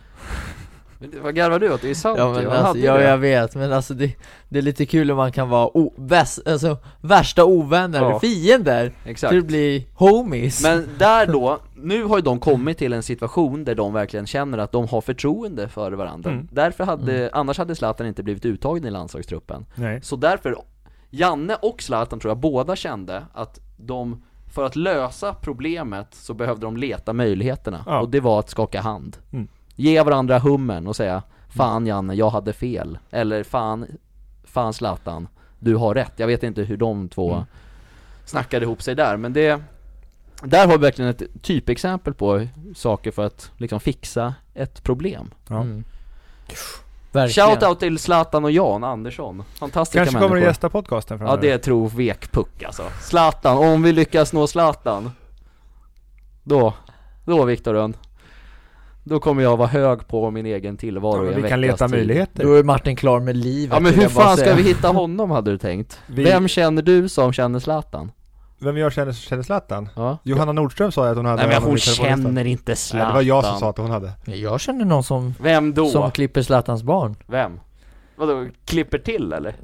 S1: Men det- Vad garvar du åt? Det är ju sant
S2: Ja
S1: ju,
S2: men
S1: han
S2: alltså,
S1: hade ju
S2: ja,
S1: det.
S2: jag vet, men alltså det, det är lite kul om man kan vara o- väs, alltså, värsta ovänner,
S1: Ja.
S2: fiender,
S1: Exakt
S2: till att bli homies
S1: Men där då, nu har ju de kommit till en situation där de verkligen känner att de har förtroende för varandra.
S3: Mm.
S1: Därför hade, annars hade Zlatan inte blivit uttagen i landslagstruppen.
S3: Nej.
S1: Så därför, Janne och Zlatan tror jag båda kände att de, för att lösa problemet så behövde de leta möjligheterna.
S3: Ja.
S1: Och det var att skaka hand.
S3: Mm.
S1: Ge varandra hummen och säga Fan Janne, jag hade fel. Eller fan, fan Zlatan, du har rätt. Jag vet inte hur de två
S3: Mm.
S1: snackade ihop sig där, men det där har vi verkligen ett typexempel på saker för att liksom fixa ett problem.
S3: Ja.
S2: mm. Verkligen
S1: Shout out till Zlatan och Jan Andersson. Fantastiska
S3: Kanske kommer
S1: människor.
S3: du gästa podcasten
S1: Ja
S3: framöver.
S1: det tror vekpuck alltså. Zlatan, om vi lyckas nå Zlatan. Då, då Viktor Rönn. Då kommer jag vara hög på min egen tillvaro i
S3: Ja,
S1: en
S3: vi kan
S1: veckas
S3: leta
S1: tid.
S3: möjligheter.
S2: Då är Martin klar med livet
S1: Ja men
S2: vill
S1: hur
S2: jag bara
S1: fan ska
S2: säga.
S1: vi hitta honom hade du tänkt?
S3: Vi-
S1: Vem känner du som känner Zlatan?
S3: Vem jag känner som känner Zlatan?
S1: Ja.
S3: Johanna Nordström sa ju att hon hade
S1: Nej men
S3: honom
S1: hon
S3: i telefonlistan.
S1: känner inte
S3: Nej,
S1: Zlatan.
S3: det var jag som sa att hon hade.
S2: Jag känner någon som,
S1: Vem då?
S2: som klipper Zlatans barn
S1: Vem? Vadå, klipper till eller?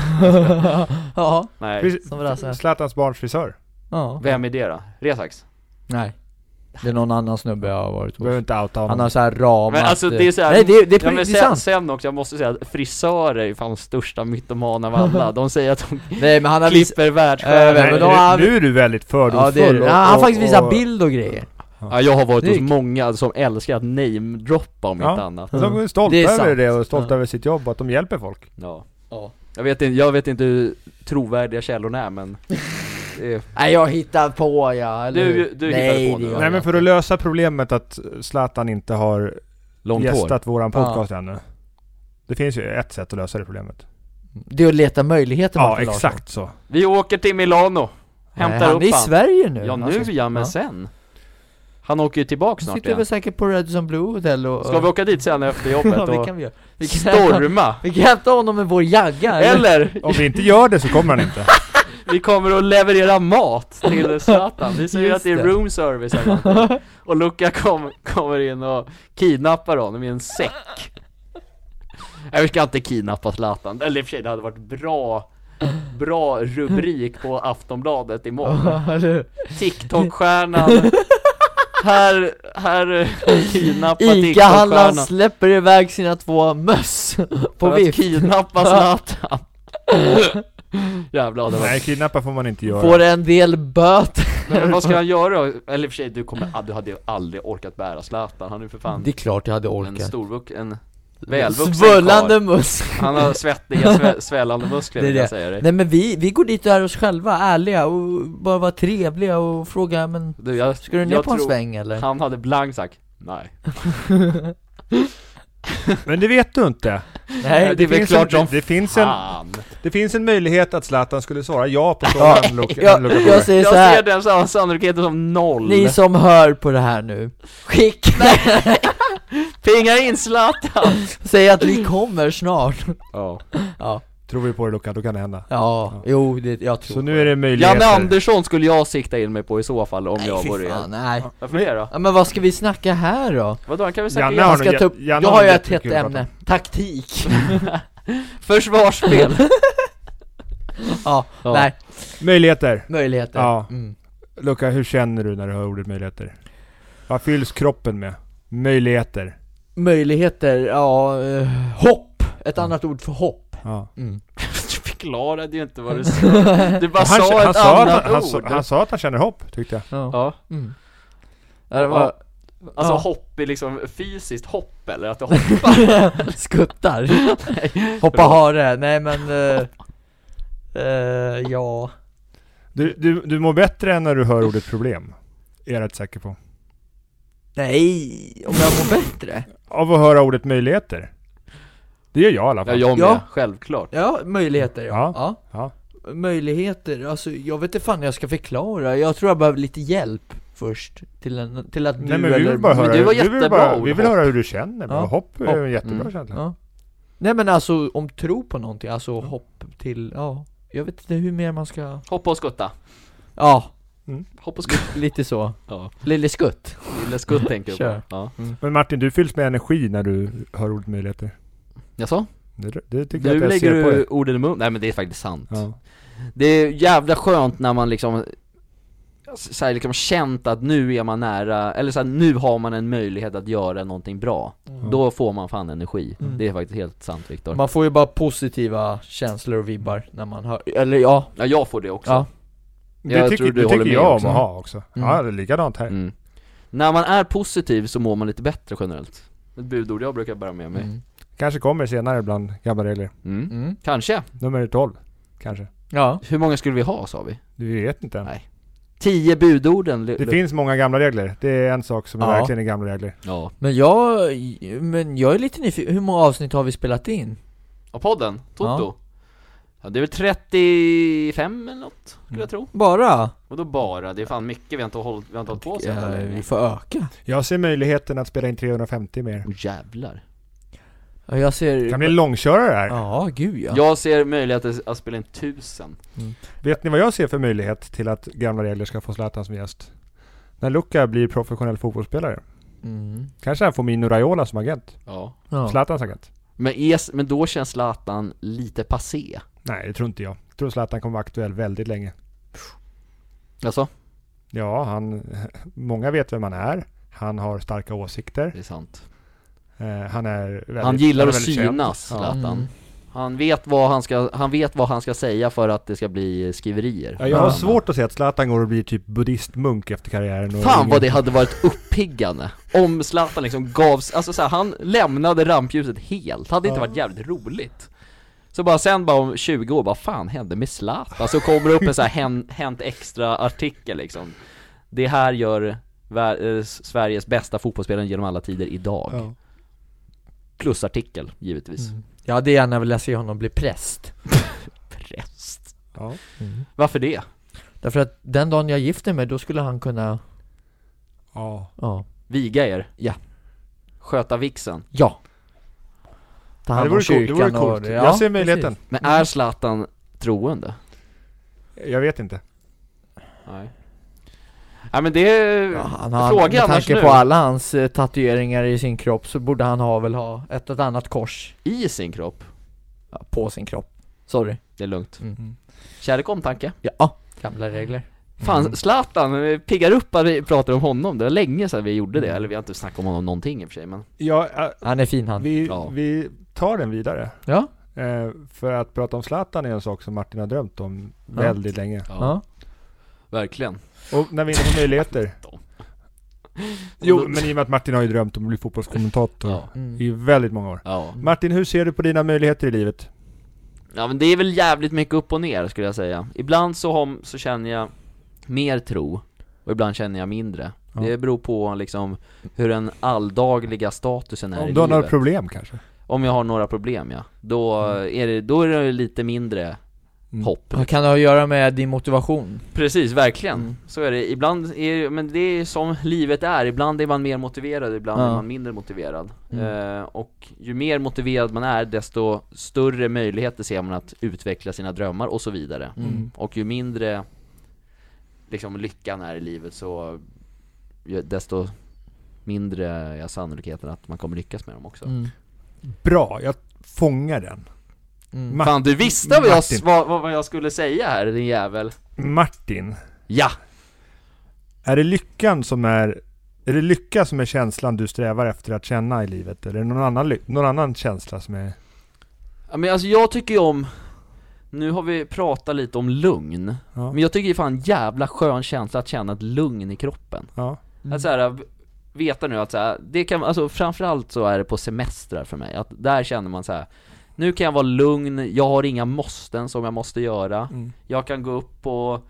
S2: (laughs) Ja,
S1: Nej.
S3: Fris-
S2: som Brasse
S3: Zlatans barns frisör.
S2: Ja,
S1: Vem är det då? Resax?
S2: nej Det är någon annan snubbe jag har varit
S3: Du behöver
S2: hos
S3: inte outa honom.
S2: Han har såhär ramat
S1: Men alltså det är såhär,
S2: Nej det, är- det är på
S1: ja, men
S2: riktigt
S1: sen,
S2: sant
S1: sen också, jag måste säga att frisörer är fan största mytoman av
S2: (laughs)
S1: alla, de säger att de
S2: Nej men han har visat,
S1: klipper
S2: Eh,
S1: världsstjärnor
S2: men
S3: Nej,
S2: då
S3: nu,
S2: har-
S3: nu är du väldigt
S2: ja det är
S3: fördomsfull
S2: det.
S3: och-
S2: Ja, Han
S3: och-
S2: faktiskt
S3: och-
S2: visar bild och grejer
S1: ja, Jag har varit
S2: Det är-
S1: hos många som älskar att namedroppa om
S3: Ja.
S1: inte annat
S3: Men De är stolta
S2: Mm. Det är
S3: över
S2: sant.
S3: det och stolta
S2: Ja.
S3: över sitt jobb och att de hjälper folk.
S1: ja.
S2: Ja.
S1: Jag, vet inte, jag vet inte hur trovärdiga källorna är
S2: (laughs)
S1: men det är-
S2: Nej jag hittar på ja, eller
S1: Du-
S2: hur?
S1: du hittar
S2: Nej,
S1: på nu,
S2: det gör
S1: va?
S3: Nej
S2: jag
S3: men för
S2: inte.
S3: att lösa problemet att Zlatan inte har
S1: långt hår
S3: gästat våran
S2: Ja.
S3: podcast ännu. Det finns ju ett sätt att lösa det problemet.
S2: Det är att leta möjligheter
S3: Ja,
S2: Martin Larsson.
S3: exakt så.
S1: Vi åker till Milano, hämtar
S2: Nej, han
S1: upp
S2: är i Sverige nu Alltså,
S1: Ja
S2: Han
S1: nu
S2: ska-
S1: ja, men sen Han åker ju tillbaka
S2: Han
S1: snart
S2: sitter
S1: igen
S2: väl säkert på Radisson Blue Hotel och...
S1: Ska vi åka dit sen efter jobbet
S2: (laughs) Ja, det
S1: och
S2: kan vi göra Vi kan,
S1: storma?
S2: (laughs) vi kan hämta honom med vår jagga
S1: Eller
S3: Om vi inte gör det så kommer han
S2: (laughs)
S3: inte.
S1: Vi kommer att leverera mat till Zlatan. Vi säger
S2: Just
S1: att det är
S2: det.
S1: room service eller någonting. Och Luca kom, kommer in och kidnappar honom i en säck. Nej vi ska inte kidnappa Zlatan. Eller i och för sig det hade varit bra Bra rubrik på Aftonbladet imorgon.
S2: (laughs) Ja, eller hur?
S1: TikTok-stjärnan. Här, här kidnappa
S2: Ica-handlaren
S1: TikTok-stjärnan.
S2: släpper iväg sina
S1: (laughs)
S2: två möss på
S1: För att
S2: vift
S1: kidnappa Zlatan. Jävlar det var
S3: Nej, kidnappa får man inte göra.
S2: Får en del böter
S1: Men
S2: (laughs)
S1: vad ska han göra då? Eller i och för sig, du, kommer, ah, du hade aldrig orkat bära Zlatan, han är ju för fan
S2: Det är klart jag hade
S1: en
S2: orkat
S1: storvux, en välvuxen
S2: Svullande
S1: karl
S2: möss
S1: Han har
S2: (laughs)
S1: svettiga, svä, svällande muskler
S2: Det är
S1: vill jag
S2: det.
S1: säga dig
S2: (laughs) Nej men vi, vi går dit och är oss själva, ärliga och bara vara trevliga och fråga men
S1: du, jag,
S2: Ska du ner
S1: jag
S2: på en
S1: tror
S2: sväng eller?
S1: Han hade blank sagt, nej
S3: Men det vet du inte.
S2: Nej
S1: det är väl
S3: finns
S1: klart som
S3: en, det, finns en,
S2: Ah.
S1: Fan!
S3: det finns en möjlighet att Zlatan skulle svara ja på
S2: Ja,
S3: frågan. Luca- Luca
S2: jag,
S3: frågar.
S2: jag säger
S1: Jag
S2: så
S1: ser
S2: här.
S1: den sam- sannolikheten som noll!
S2: ni som hör på det här nu Skicka,
S1: Pinga in Zlatan!
S2: (laughs) säg att vi kommer snart
S1: Ja.
S2: Ja,
S3: Tror vi på det Luca, då kan det hända.
S2: ja, jo det, jag tror
S3: Så nu är det
S1: Janne
S3: möjligheter.
S1: Andersson skulle jag sikta in mig på i så fall om
S2: Nej
S1: jag
S2: fy
S1: vore
S2: fan,
S1: er
S2: nej
S1: Varför det då?
S2: Ja men vad ska vi snacka här då?
S1: Vadå, han kan väl
S3: Janne
S1: snacka
S2: Jag
S3: har
S1: igen?
S3: nog
S2: ska
S3: jä-
S2: ta upp,
S3: Janne
S2: jag
S3: har
S2: har ju
S3: nog
S2: ett hett
S3: jättekul att prata
S2: ämne, taktik
S3: (laughs)
S1: Försvarsspel! (laughs)
S2: ja,
S1: Ja.
S2: nej,
S3: Möjligheter.
S2: möjligheter
S3: Ja.
S2: mm.
S3: Luca, hur känner du när du hör ordet möjligheter? Vad fylls kroppen med? Möjligheter.
S2: Möjligheter, ja, eh, hopp, ett annat ord för hopp
S3: Ja.
S2: mm.
S1: Du förklarade ju inte vad du
S2: (laughs)
S1: sa. Du bara
S3: Och han,
S1: sa
S3: han,
S1: ett
S3: sa att
S1: annat
S3: han, han, sa-
S1: ord.
S3: han sa att han känner hopp, tyckte jag.
S2: ja.
S1: ja.
S2: Mm. ja, det var
S1: Alltså
S2: Ja.
S1: hopp är liksom fysiskt hopp eller att du hoppar?
S2: (laughs) skuttar Hoppa hare, nej men eh, eh, ja,
S3: Du, du, du mår bättre än när du hör ordet problem. Är jag rätt säker på.
S2: nej, om jag mår bättre?
S3: Av att höra ordet möjligheter. Det gör jag i alla
S1: Ja,
S3: fall.
S1: jag med.
S2: Ja.
S1: Självklart.
S2: Ja, möjligheter ja.
S3: Ja. Ja.
S2: Möjligheter, alltså jag vet inte fan hur jag ska förklara, jag tror jag behöver lite hjälp först till, en, till att du
S3: Nej men vi
S2: eller-
S3: vill bara
S1: men
S3: höra,
S1: du var
S3: vi vill,
S1: jättebra,
S3: bara,
S1: Ola
S3: vi vill
S1: Hopp.
S3: höra hur du känner.
S2: Ja.
S3: Ja. Hopp är
S2: Hopp.
S3: en jättebra
S1: Mm.
S3: känsla.
S2: Ja. Nej men alltså om tro på någonting, alltså
S3: Mm.
S2: hopp till, ja Jag vet inte hur mer man ska
S1: Hoppa och skutta
S2: Ja,
S1: Hoppa och skutta
S2: lite så
S1: Ja,
S2: Lille skutt
S1: lilla skutt tänker jag
S2: Kör.
S1: på Ja
S3: Men Martin, du fylls med energi när du hör ordet möjligheter.
S1: Jaså?
S3: Det, det tycker
S1: Nu
S3: jag att jag
S1: lägger
S3: ser på
S1: du
S3: dig.
S1: orden i mun, nej men det är faktiskt sant
S3: Ja.
S1: Det är jävla skönt när man liksom så här liksom känt att nu är man nära, eller så här, nu har man en möjlighet att göra någonting bra
S2: Mm.
S1: Då får man fan energi,
S2: Mm.
S1: det är faktiskt helt sant Viktor
S2: Man får ju bara positiva känslor och vibbar när man hör, eller ja,
S1: Ja jag får det också
S2: ja
S3: Det
S1: Jag
S3: tycker,
S1: tror du
S3: det
S1: håller
S3: tycker
S1: med
S3: jag
S1: också.
S3: om att ha också.
S2: Mm.
S3: Ja, det är likadant här.
S1: Mm. När man är positiv så mår man lite bättre generellt Ett budord jag brukar bära med mig
S2: mm.
S3: Kanske kommer senare bland gamla regler.
S1: Mm.
S2: Mm.
S1: Kanske,
S3: Nummer 12, kanske.
S2: Ja,
S1: hur många skulle vi ha sa vi?
S3: Du vet inte än.
S1: Nej. Tio budorden
S3: Det finns många gamla regler. Det är en sak som
S2: Ja.
S3: verkligen är gamla regler.
S1: Ja,
S2: men jag, men jag är lite nyfiken, hur många avsnitt har vi spelat in?
S1: och podden, Toto ja. det är väl 35 eller något, skulle jag tro
S2: Bara?
S1: Och då bara, det är fan mycket vi har inte hållit, vi har inte hållit på så
S2: Ja,
S1: jävla
S2: vi
S1: länge
S2: får öka
S3: Jag ser möjligheten att spela in 350 mer.
S1: Åh jävlar
S2: Ja, Jag
S3: Det
S2: ser
S3: kan bli en långkörare här.
S2: Ja, gud ja,
S1: Jag ser möjlighet att, att spela in tusen
S3: Vet ni vad jag ser för möjlighet till att gamla regler ska få Zlatan som gäst? När Luca blir professionell fotbollsspelare.
S2: Mm.
S3: Kanske han får Mino Raiola som agent.
S1: Ja
S2: ja.
S3: Zlatans agent.
S1: Men, är, men då känns Zlatan lite passé
S3: Nej, det tror inte jag. Jag tror Zlatan kommer vara aktuell väldigt länge.
S1: Alltså,
S3: Ja, han... (laughs) Många vet vem han är. Han har starka åsikter.
S1: det är sant
S3: Eh, han är väldigt,
S1: Han gillar
S3: är
S1: att
S3: väldigt känd.
S1: synas,
S3: Ja.
S1: Zlatan
S2: Mm.
S1: Han vet vad han ska, han vet vad han ska säga för att det ska bli skriverier
S3: Ja, jag har
S2: Ja.
S3: svårt att se att Zlatan går och blir typ buddhistmunk efter karriären. och
S1: Fan vad det
S3: ingen-
S1: hade varit uppiggande om Zlatan liksom gavs, alltså så här, han lämnade rampljuset helt, hade inte
S3: Ja.
S1: varit jävligt roligt Så bara sen bara om 20 år, vad fan hände med Zlatan? Så kommer det upp en så här hän- Hänt Extra artikel liksom Det här gör vär- eh, Sveriges bästa fotbollsspelare genom alla tider idag
S3: Ja.
S1: Plus artikel, givetvis
S2: Mm. Jag hade gärna velat se honom bli präst
S1: Präst
S3: Ja.
S1: Varför det?
S2: Därför att den dagen jag gifter mig, då skulle han kunna,
S3: ja.
S2: ja,
S1: Viga er?
S2: Ja.
S1: Sköta vigseln?
S2: ja Ta
S3: Ja,
S2: hand
S3: det
S2: om
S3: vore coolt. Det vore
S2: kyrkan
S3: coolt.
S2: och det,
S3: jag ser möjligheten.
S2: precis.
S1: Men är Zlatan troende?
S3: Jag vet inte.
S1: Nej Nej men det,
S2: Ja, han har,
S1: fråga
S2: med
S1: annars
S2: tanke
S1: nu
S2: på alla hans eh, tatueringar i sin kropp så borde han ha väl ha ett och ett annat kors
S1: i sin kropp,
S2: ja, på sin kropp Sorry
S1: det är lugnt
S2: Mm.
S1: Kärlek och omtanke
S2: Ja, gamla regler
S1: Fan,
S3: Mm.
S1: Zlatan, vi piggar upp att vi pratar om honom, det var länge sedan vi gjorde
S3: Mm.
S1: det, eller vi har inte snackat om honom någonting i och för sig men
S3: Ja, eh,
S2: Han är fin han
S3: vi,
S1: Ja.
S3: vi tar den vidare.
S2: Ja,
S3: Eh, för att prata om Zlatan är en sak som Martin har drömt om
S2: Ja.
S3: väldigt länge.
S2: ja,
S1: Verkligen
S3: Och när vi är inne på (laughs) möjligheter. Jo, men i och med att Martin har ju drömt om att bli fotbollskommentator
S1: Ja.
S2: Mm.
S3: i väldigt många år.
S1: Ja.
S3: Martin, hur ser du på dina möjligheter i livet?
S1: ja men det är väl jävligt mycket upp och ner skulle jag säga Ibland så, har, så känner jag mer tro, och ibland känner jag mindre
S3: Ja.
S1: Det beror på liksom hur den alldagliga statusen är i
S3: Om du har några
S1: livet.
S3: problem kanske?
S1: Om jag har några problem ja, då är det, då är det lite mindre
S3: Mm.
S1: hopp
S2: Vad kan det ha att göra med din motivation?
S1: Precis, verkligen.
S2: Mm.
S1: Så är det. Ibland är men det är som livet är. Ibland är man mer motiverad, ibland
S2: Ja.
S1: är man mindre motiverad.
S2: Mm.
S1: Eh, och ju mer motiverad man är, desto större möjligheter ser man att utveckla sina drömmar och så vidare.
S2: Mm.
S1: Och ju mindre liksom, lyckan är i livet, så ju- desto mindre är sannolikheten att man kommer lyckas med dem också.
S2: Mm.
S3: Bra, jag fångar den.
S2: Mm.
S3: Ma-
S1: Fan, du visste vad jag,
S3: Martin.
S1: vad, vad jag skulle säga här, din jävel.
S3: Martin,
S1: Ja!
S3: är det lyckan som är... Är det lycka som är känslan du strävar efter att känna i livet? Eller är det någon annan, ly- någon annan känsla som är...
S1: Ja, men alltså jag tycker ju om, nu har vi pratat lite om lugn,
S3: Ja.
S1: men jag tycker ju fan jävla skön känsla att känna ett lugn i kroppen.
S3: ja.
S2: Mm.
S1: Att
S2: Alltså,
S1: så här, v- veta nu att så här, det kan, alltså framförallt så är det på semestrar för mig, att där känner man så här. Nu kan jag vara lugn, jag har inga måsten som jag måste göra,
S3: Mm.
S1: jag kan gå upp och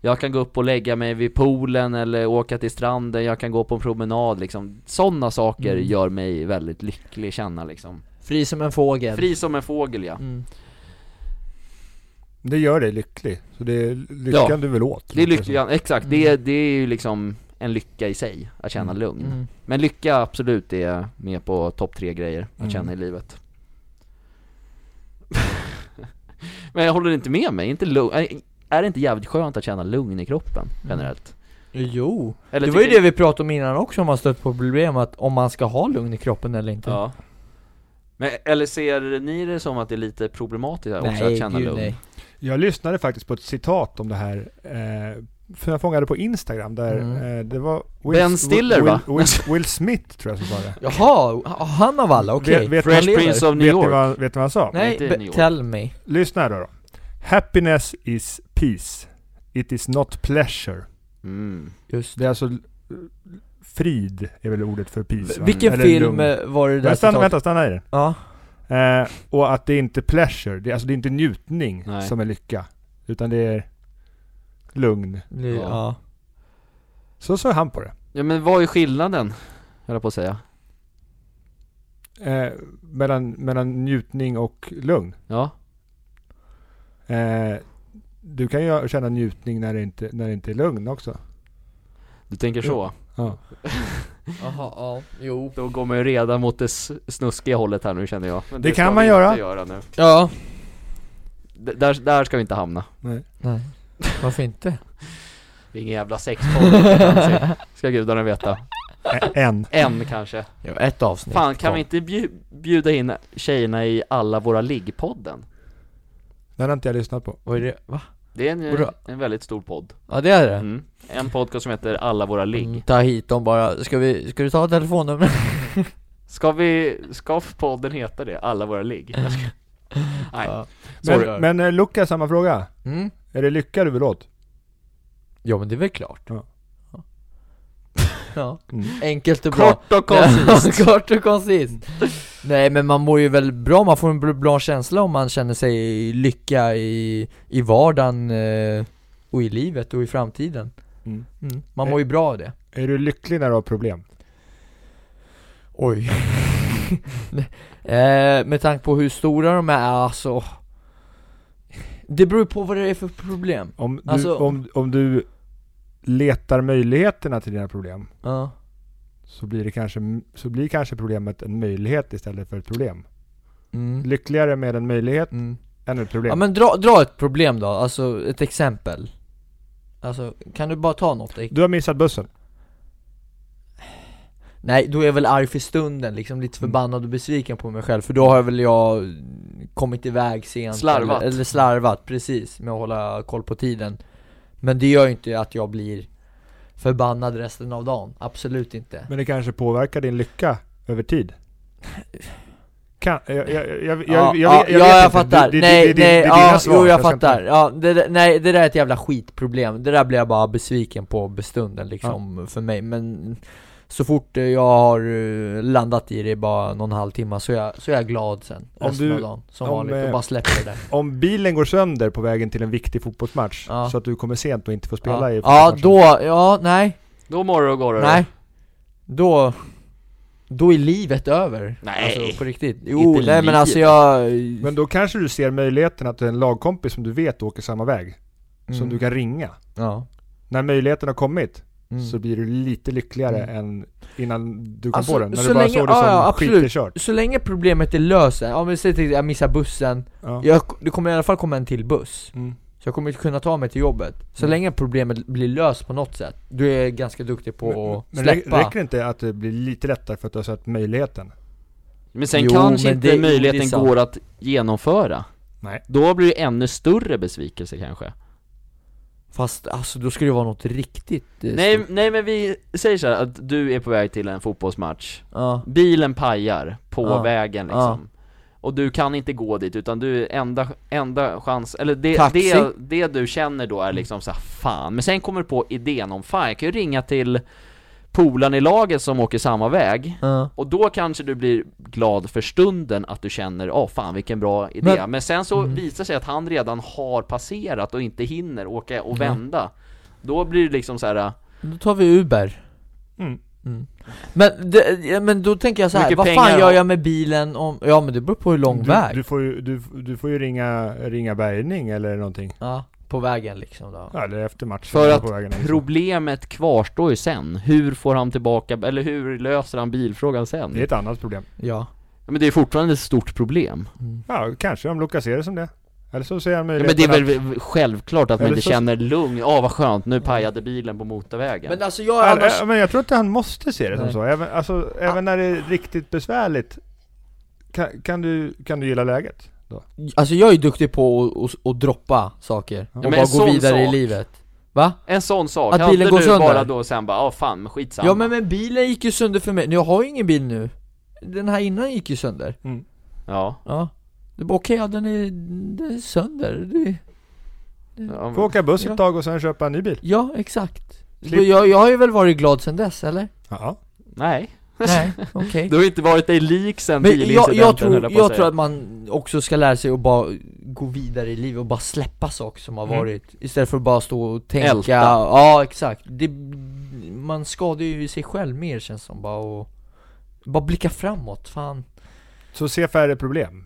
S1: jag kan gå upp och lägga mig vid poolen eller åka till stranden, jag kan gå på en promenad liksom. Sådana saker
S2: Mm.
S1: gör mig väldigt lycklig, känna liksom.
S2: Fri som en fågel
S1: Fri som en fågel ja.
S2: mm.
S3: Det gör dig lycklig. Så det är lyckan
S1: Ja.
S3: du vill åt.
S1: Det är lyckan, exakt, det, det är ju liksom en lycka i sig, att känna lugn.
S2: Mm.
S1: Men lycka absolut är med på topp tre grejer att
S2: Mm.
S1: känna i livet (laughs) Men jag håller inte med mig, inte lugn, är- är det inte jävligt skönt att känna lugn i kroppen generellt?
S2: Jo,
S1: Eller
S2: Mm. det var ju
S1: tycker
S2: det vi pratade om innan också, om man stött på problem att om man ska ha lugn i kroppen eller inte
S1: Ja Men, eller ser ni det som att det är lite problematiskt här också att känna
S2: gud,
S1: lugn?
S2: nej.
S3: Jag lyssnade faktiskt på ett citat om det här, eh, för jag fångade det på Instagram där,
S2: Mm.
S3: eh, det var
S1: Ben Stiller,
S3: Will,
S1: va?
S3: Will, Will Smith tror jag
S1: (laughs)
S3: som sa det.
S2: Jaha, ha- han av alla, okej
S3: Vet- vet-
S2: Han
S1: Fresh
S2: lever.
S1: Prince of New
S3: Vet ni,
S1: York?
S3: vad, vet ni vad han sa?
S2: Nej,
S1: Inte i
S2: be-
S1: New York.
S2: tell me
S3: Lyssna här då, då. Happiness is peace. It is not pleasure.
S1: Mm.
S2: Just
S3: Det är alltså eh, frid är väl ordet för peace va?
S2: Vilken
S3: Eller
S2: film
S3: lugn.
S2: eh, var det där
S3: Men stanna,
S2: citatet?
S3: vänta, stanna i den.
S2: Ja,
S3: Eh, och att det är inte pleasure, det är, alltså det är inte njutning
S1: Nej.
S3: som är lycka. Utan det är lugn.
S2: det-
S1: Ja.
S2: ja.
S3: Så såg han på det.
S1: Ja men vad är skillnaden? Höll jag på att säga
S3: Eh, mellan, mellan njutning och lugn.
S1: Ja,
S3: Eh, du kan ju känna njutning när det inte, när det inte är lugn också.
S1: du tänker så?
S3: Ja.
S2: Jaha, ja, jo
S1: Då går man ju redan mot det s- snuskiga hållet här nu känner jag Men
S3: Det
S1: ska
S3: kan man
S1: vi
S3: göra.
S1: Inte göra nu.
S2: Ja,
S1: D- där, där ska vi inte hamna
S3: Nej.
S2: nej Varför inte?
S1: Det är ingen jävla sexpodd kanske. (laughs) Ska gudarna veta
S3: Ä- Än.
S1: En kanske
S2: Jo, ett avsnitt
S1: Fan kan
S2: kvar.
S1: vi inte bju- bjuda in tjejerna i alla våra liggpodden?
S3: Den har inte jag lyssnat på.
S2: Vad är det? Va?
S1: Det är en,
S2: Bra.
S1: en väldigt stor podd
S2: Ja det är det
S1: mm. En podcast som heter alla våra
S2: Mm,
S1: ligg
S2: Ta hit dem bara, ska vi, ska du ta telefonnumret?
S1: Ska vi, ska podden heta det? Alla våra ligg? Jag ska- Nej,
S2: Ja. Sorry.
S3: Men, men eh, Luca, samma fråga.
S2: Mm.
S3: Är det lycka du vill åt?
S2: Ja men det är väl klart
S3: Ja.
S2: Ja. Ja,
S3: Mm.
S2: (laughs) enkelt och Mm. bra
S1: kort och koncist
S2: Ja, (laughs) Kort och koncist Nej men man mår ju väl bra, man får en bl- bra känsla om man känner sig lycka i, i vardagen eh, och i livet och i framtiden
S3: Mm.
S2: mm. Man mår ju bra av det
S3: Är du lycklig när du har problem?
S2: (laughs) Oj eh, Med tanke på hur stora de är, alltså Det beror ju på vad det är för problem
S3: Om du,
S2: Alltså-
S3: om, om du letar möjligheterna till dina problem
S2: Ja,
S3: så blir, det kanske, så blir kanske problemet en möjlighet istället för ett problem.
S2: mm.
S3: Lyckligare med en möjlighet
S2: Mm.
S3: än ett problem.
S2: Ja men dra, dra ett problem då, alltså ett exempel Alltså, kan du bara ta något?
S3: Du har missat bussen.
S2: Nej, då är jag väl arg för stunden, liksom lite förbannad och besviken på mig själv För då har väl jag kommit iväg sent
S1: Slarvat.
S2: Eller, eller slarvat, precis, med att hålla koll på tiden Men det gör ju inte att jag blir förbannad resten av dagen, absolut inte
S3: Men det kanske påverkar din lycka över tid. Kan, jag, jag, jag, jag,
S2: Ja,
S3: jag,
S2: ja,
S3: jag,
S2: ja, jag fattar, nej, nej, ja, jo jag fattar, ja, det, där- nej det där är ett jävla skitproblem, det där blir jag bara besviken på bestunden liksom för mig, men så fort eh, jag har eh, landat i det i bara någon halvtimme så är jag, så är jag glad sen,
S3: Om
S2: resten
S3: du-
S2: av dagen, som
S3: om,
S2: vanligt,
S3: eh,
S2: och bara släpper
S3: (laughs)
S2: det där
S3: Om bilen går sönder på vägen till en viktig fotbollsmatch
S2: Ja.
S3: så att du kommer sent och inte får spela
S2: Ja,
S3: i
S2: ja
S3: fotbollsmatchen.
S2: då, ja nej,
S1: Då morrar och gorrar
S2: nej Då, då är livet över
S1: Nej.
S2: Alltså på riktigt, jo nej men
S1: livet.
S2: alltså jag
S3: Men då kanske du ser möjligheten att du är en lagkompis som du vet åker samma väg. Som
S2: Mm.
S3: du kan ringa.
S2: Ja
S3: När möjligheten har kommit
S2: Mm.
S3: så blir du lite lyckligare än innan du kom
S2: Alltså,
S3: på den. När
S2: så
S3: du bara
S2: länge-
S3: såg det som
S2: ja, ja,
S3: skit
S2: absolut.
S3: är kört.
S2: Så länge problemet är löst, om vi säger till exempel jag missar bussen,
S3: Ja.
S2: jag, det kommer i alla fall komma en till buss
S3: Mm.
S2: Så jag kommer inte kunna ta mig till jobbet Så
S3: Mm.
S2: länge problemet blir löst på något sätt, du är ganska duktig på att
S3: Men, men
S2: släppa
S3: rä- räcker det inte att det blir lite lättare för att du har sett möjligheten?
S1: Men sen
S2: Jo,
S1: kanske
S2: men
S1: inte
S2: det- det är
S1: möjligheten
S2: sant.
S1: går att genomföra
S3: Nej.
S1: Då blir det ännu större besvikelse kanske
S2: Fast alltså då skulle det vara något riktigt eh,
S1: Nej,
S2: stort.
S1: nej men vi säger så här att du är på väg till en fotbollsmatch
S2: ja.
S1: Bilen pajar på
S2: Ja.
S1: vägen liksom Och du kan inte gå dit utan du, enda, enda chans, eller det,
S2: Taxi. Mm.
S1: det, det du känner då är liksom så här, fan Men sen kommer du på idén om, fan jag kan ju ringa till polaren i laget som åker samma väg
S2: ja.
S1: och då kanske du blir glad för stunden att du känner, åh fan vilken bra idé Men,
S2: Men-
S1: sen så visar sig att han redan har passerat och inte hinner åka och vända Då blir det liksom så här.
S2: Då tar vi Uber
S3: Mm.
S2: Mm. Men, det, ja, men då tänker jag så här,
S1: Mycket
S2: vad fan
S1: pengar
S2: gör
S1: har-
S2: jag med bilen om, ja men det beror på hur lång
S3: Du,
S2: väg
S3: du, får ju, du, du får ju ringa, ringa bärgning eller någonting.
S2: Ja, på vägen liksom då?
S3: Ja, eller efter matchen.
S1: För att
S3: på vägen hem.
S1: Problemet kvarstår ju sen. Hur får han tillbaka, eller hur löser han bilfrågan sen?
S3: Det är ett annat problem.
S2: Ja.
S1: Ja, men det är fortfarande ett stort problem.
S3: Ja, kanske om Lukas ser det som det. Eller så ser han
S1: Ja, men
S3: möjligheten
S1: det är väl
S3: att-
S1: v- självklart att man
S3: Eller
S1: inte
S3: så-
S1: känner lugn, ja vad skönt, nu pajade bilen på motorvägen.
S2: Men alltså jag
S3: Ja,
S2: är annars...
S3: ja, men jag tror inte han måste se det som
S2: Nej.
S3: så. Även, alltså, även när det är riktigt besvärligt kan, kan, du, kan du gilla läget? Då?
S2: Alltså jag är duktig på att, att, att droppa saker och
S1: men en
S2: bara gå
S1: sån
S2: vidare
S1: sak.
S2: i livet Va?
S1: En sån sak,
S2: Att
S1: hade
S2: bilen
S1: du
S2: går sönder.
S1: bara då sen bara, ja fan, men skitsamma.
S2: Ja men, men bilen gick ju sönder för mig, jag har ju ingen bil nu Den här innan gick ju sönder
S1: Ja.
S2: Ja Det var okej, ja den är, den är sönder det,
S1: Ja,
S3: Får åka buss
S2: Ja.
S3: ett tag och sen köpa en ny bil?
S2: Ja exakt
S3: Slipp.
S2: jag, jag har ju väl varit glad sen
S1: (laughs)
S2: dess eller?
S3: Ja.
S1: Nej.
S2: Nej, okej
S1: Du har inte varit dig lik sen
S2: Men jag,
S1: bilincidenten
S2: jag,
S1: höll
S2: tror,
S1: på
S2: jag
S1: att
S2: tror
S1: säga.
S2: att man också ska lära sig att bara gå vidare i livet och bara släppa saker som har
S3: Mm.
S2: varit Istället för att bara stå och tänka
S1: Älta.
S2: Ja exakt, det, man skadar ju sig själv mer känns som bara och Bara blicka framåt, fan
S3: Så se färre problem.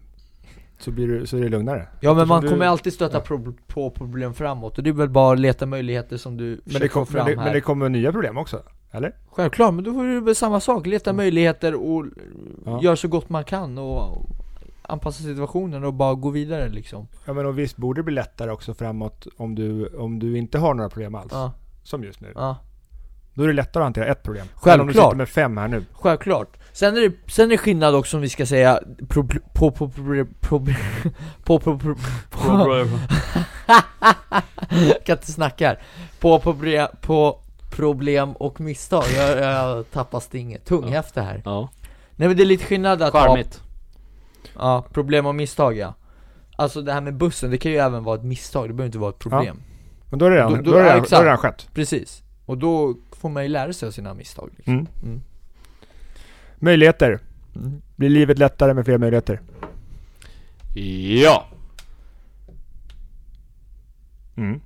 S3: Så, blir du, så är det lugnare.
S2: Ja men
S3: Eftersom
S2: man
S3: du-
S2: kommer alltid stöta
S3: ja.
S2: prob- på problem framåt och det är väl bara att leta möjligheter som du
S3: Men det,
S2: försöker få
S3: kom, men,
S2: fram
S3: det,
S2: här
S3: men det kommer nya problem också. Eller?
S2: Självklart, men då får du väl samma sak, leta möjligheter och
S3: Mm. Ja.
S2: gör så gott man kan och anpassa situationen och bara gå vidare liksom
S3: Ja men och visst borde det bli lättare också framåt om du, om du inte har några problem alls.
S2: Ja,
S3: Som just nu.
S2: ja
S3: Då är det lättare att hantera ett problem. Än om du
S2: Självklart.
S3: sitter med fem här nu.
S2: Självklart. Sen är det, sen är det skillnad också om vi ska säga pro, på, på, på, på, på, på, på, på, jag kan inte snacka här. På, på, på, på problem och misstag. Jag, jag tappar stinget. Tunghäfte här.
S1: (laughs) Ja,
S2: Nej men det är lite skillnad att ha
S1: charmigt.
S2: ja, problem och misstag ja. Alltså det här med bussen, det kan ju även vara ett misstag. Det behöver inte vara ett problem.
S3: Men då är det redan,
S2: Då-
S3: då,
S2: då-
S3: är
S2: ja,
S3: det redan, då
S2: exakt.
S3: är det redan skett.
S2: Precis. Och då får man ju lära sig av sina misstag. Liksom.
S3: Mm.
S2: Mm.
S3: Möjligheter. Blir livet lättare med fler möjligheter?
S1: Ja!
S3: Mm.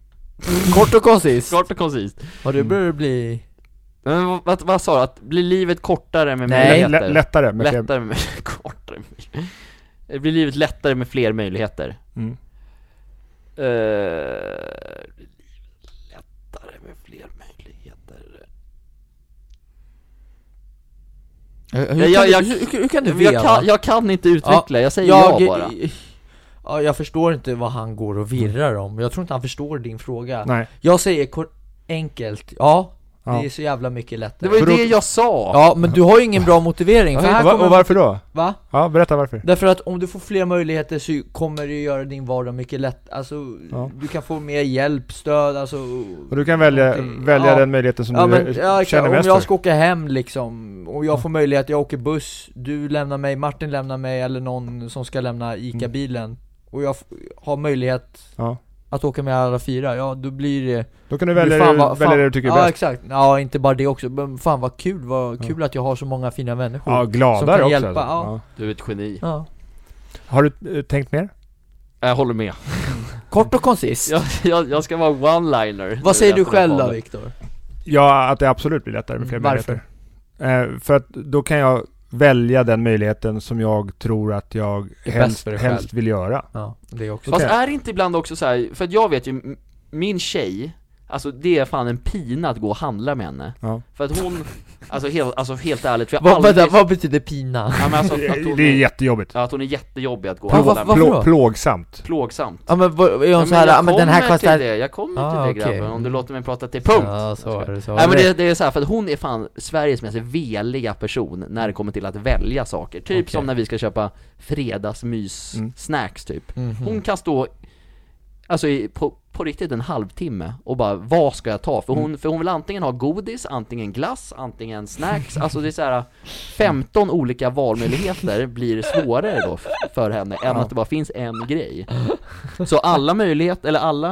S2: Kort och koncist.
S1: Kort och koncist.
S2: Och det börjar bli...
S1: Men vad, vad, vad sa du? Att blir livet kortare med
S2: Nej,
S3: Lä-
S1: möjligheter?
S3: lä- lättare med fler...
S1: lättare med, (laughs) kortare med, Det Blir livet lättare med fler möjligheter?
S3: Mm.
S1: Eh, blir livet lättare med fler möjligheter?
S2: Hur,
S1: Ja,
S2: hur,
S1: jag-
S2: kan,
S1: jag-
S2: du, hur, hur kan du
S1: Men jag,
S2: veva?
S1: kan, jag kan inte utveckla, jag säger ja,
S2: jag,
S1: bara
S2: Ja, jag förstår inte vad han går och virrar om. Jag tror inte han förstår din fråga.
S3: Nej.
S2: Jag säger kor- enkelt, ja,
S3: Ja.
S2: det är så jävla mycket lättare.
S1: Det var ju
S3: För då-
S1: det jag sa!
S2: Ja, men du har ju ingen bra motivering. För här
S3: Och va-
S2: kommer...
S3: och varför då?
S2: Va?
S3: Ja, berätta varför.
S2: Därför att om du får fler möjligheter så kommer det göra din vardag mycket lätt. Alltså,
S3: Ja.
S2: du kan få mer hjälp, stöd, alltså...
S3: Och du kan välja,
S2: Okej,
S3: välja
S2: Mm. ja.
S3: den möjligheten som
S2: Ja
S3: du
S2: men, ja, exakt.
S3: känner
S2: om
S3: mest
S2: jag
S3: för.
S2: ska åka hem liksom, och jag
S3: Ja.
S2: får möjlighet, jag åker buss, du lämnar mig, Martin lämnar mig, eller någon som ska lämna ICA-bilen Och jag f- har möjlighet
S3: Mm. Ja.
S2: att åka med alla fyra, ja då blir det
S3: Då kan du
S2: det blir
S3: välja,
S2: fan
S3: det-
S2: vad-
S3: välja
S2: fan-
S3: det du tycker är
S2: Ja
S3: bäst.
S2: exakt, ja inte bara det också, men fan vad kul, vad kul att jag har så många fina människor
S3: Ja,
S2: Som
S3: gladare
S2: kan
S3: också.
S2: hjälpa,
S3: alltså.
S2: ja.
S1: Du är ett geni.
S2: Ja.
S3: Ja. Har du eh, tänkt mer?
S1: Jag håller med. (laughs)
S2: Kort och koncist
S1: Jag, jag, jag ska vara one-liner.
S2: Vad säger du själv då
S1: David?
S2: Viktor?
S3: Ja, att det absolut blir lättare med fler
S2: Mm, varför?
S3: möjligheter. Eh, för att då kan jag välja den möjligheten som jag tror att jag
S2: bäst
S3: helst,
S2: för dig
S3: helst vill göra.
S2: Ja, det också
S1: Fast
S3: Okej.
S1: är det inte ibland också så här, för att jag vet ju, m- min tjej, alltså det är fan en pina att gå och handla med henne.
S3: Ja.
S1: För att hon, alltså helt, alltså helt ärligt, för jag har
S2: vad,
S1: aldrig...
S2: vänta, vad betyder pina?
S1: ja, men alltså, att,
S3: Det,
S1: hon
S3: det är
S1: är,
S3: jättejobbigt.
S1: ja, att hon är jättejobbig att gå och
S2: Ja, vad-
S1: handla med.
S2: varför då?
S3: Plå, plågsamt.
S1: Plågsamt.
S2: Ja men vad- är
S1: Ja,
S2: hon
S1: men
S2: såhär,
S1: jag
S2: ja men den här
S1: kommer
S2: kostar...
S1: till det, jag kommer
S2: Ah,
S1: till det
S2: okej.
S1: grabben om du låter mig prata till punkt.
S2: Ja, så är det, så är
S1: Nej men
S2: det.
S1: det, det är så här, för att hon är fan Sveriges mest veliga person när det kommer till att välja saker. Typ
S2: Okej. Mm.
S1: som när vi ska köpa fredagsmys-snacks typ.
S2: Mhm.
S3: Mm.
S1: Hon kan stå, alltså i, på, på riktigt en halvtimme och bara vad ska jag ta? För hon,
S3: Mm.
S1: för hon vill antingen ha godis, antingen glass, antingen snacks, alltså det är så här 15 olika valmöjligheter blir svårare då f- för henne än att det bara finns en grej. Så alla möjligheter, eller alla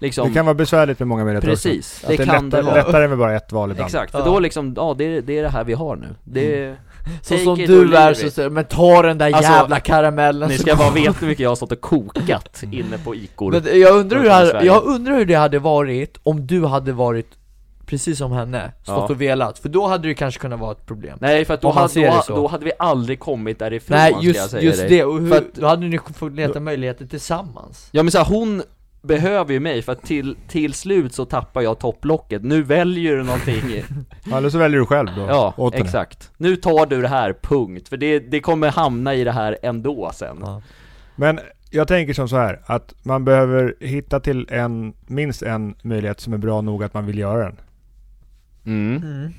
S3: Det
S1: liksom,
S3: kan vara besvärligt med många möjligheter också.
S1: precis,
S3: Att
S1: det
S3: det är
S1: kan
S3: lättare,
S1: det vara.
S3: lättare med bara ett val ibland.
S1: Exakt,
S2: Ja.
S1: för då liksom, ja det är det, är det här vi har nu. Det
S3: Mm.
S1: är,
S2: Så
S1: Take
S2: som
S1: it
S2: du
S1: or
S2: är
S1: leave
S2: så
S1: it.
S2: säger du, men ta den där
S1: Alltså,
S2: jävla karamellen
S1: Ni
S2: så-
S3: Alltså-
S1: ska bara veta hur mycket jag har stått och kokat inne på Icor.
S2: Men jag undrar, hur
S1: Runt
S2: det
S1: om i
S2: hade,
S1: Sverige.
S2: jag undrar hur det hade varit om du hade varit precis som henne, stått
S1: Ja.
S2: och velat, för då hade det kanske kunnat vara ett problem
S1: Nej för att då,
S2: Om man
S1: hade,
S2: ser det
S1: då,
S2: så.
S1: då hade vi aldrig kommit därifrån
S2: Nej
S1: ska jag
S2: just,
S1: säga
S2: just
S1: dig.
S2: det, och hur,
S1: För att-
S2: då hade ni fått leta möjligheter tillsammans
S1: Ja men så här, hon, behöver ju mig för att till, till slut så tappar jag topplocket, nu väljer du
S2: (laughs)
S1: någonting
S3: Ja, Eller så väljer du själv då.
S1: Ja,
S3: åt den här.
S1: exakt. Nu tar du det här, punkt. För det, det kommer hamna i det här ändå sen.
S2: Ja.
S3: Men jag tänker som så här, att man behöver hitta till en, minst en möjlighet som är bra nog att man vill göra den.
S1: Mm.
S2: Mm.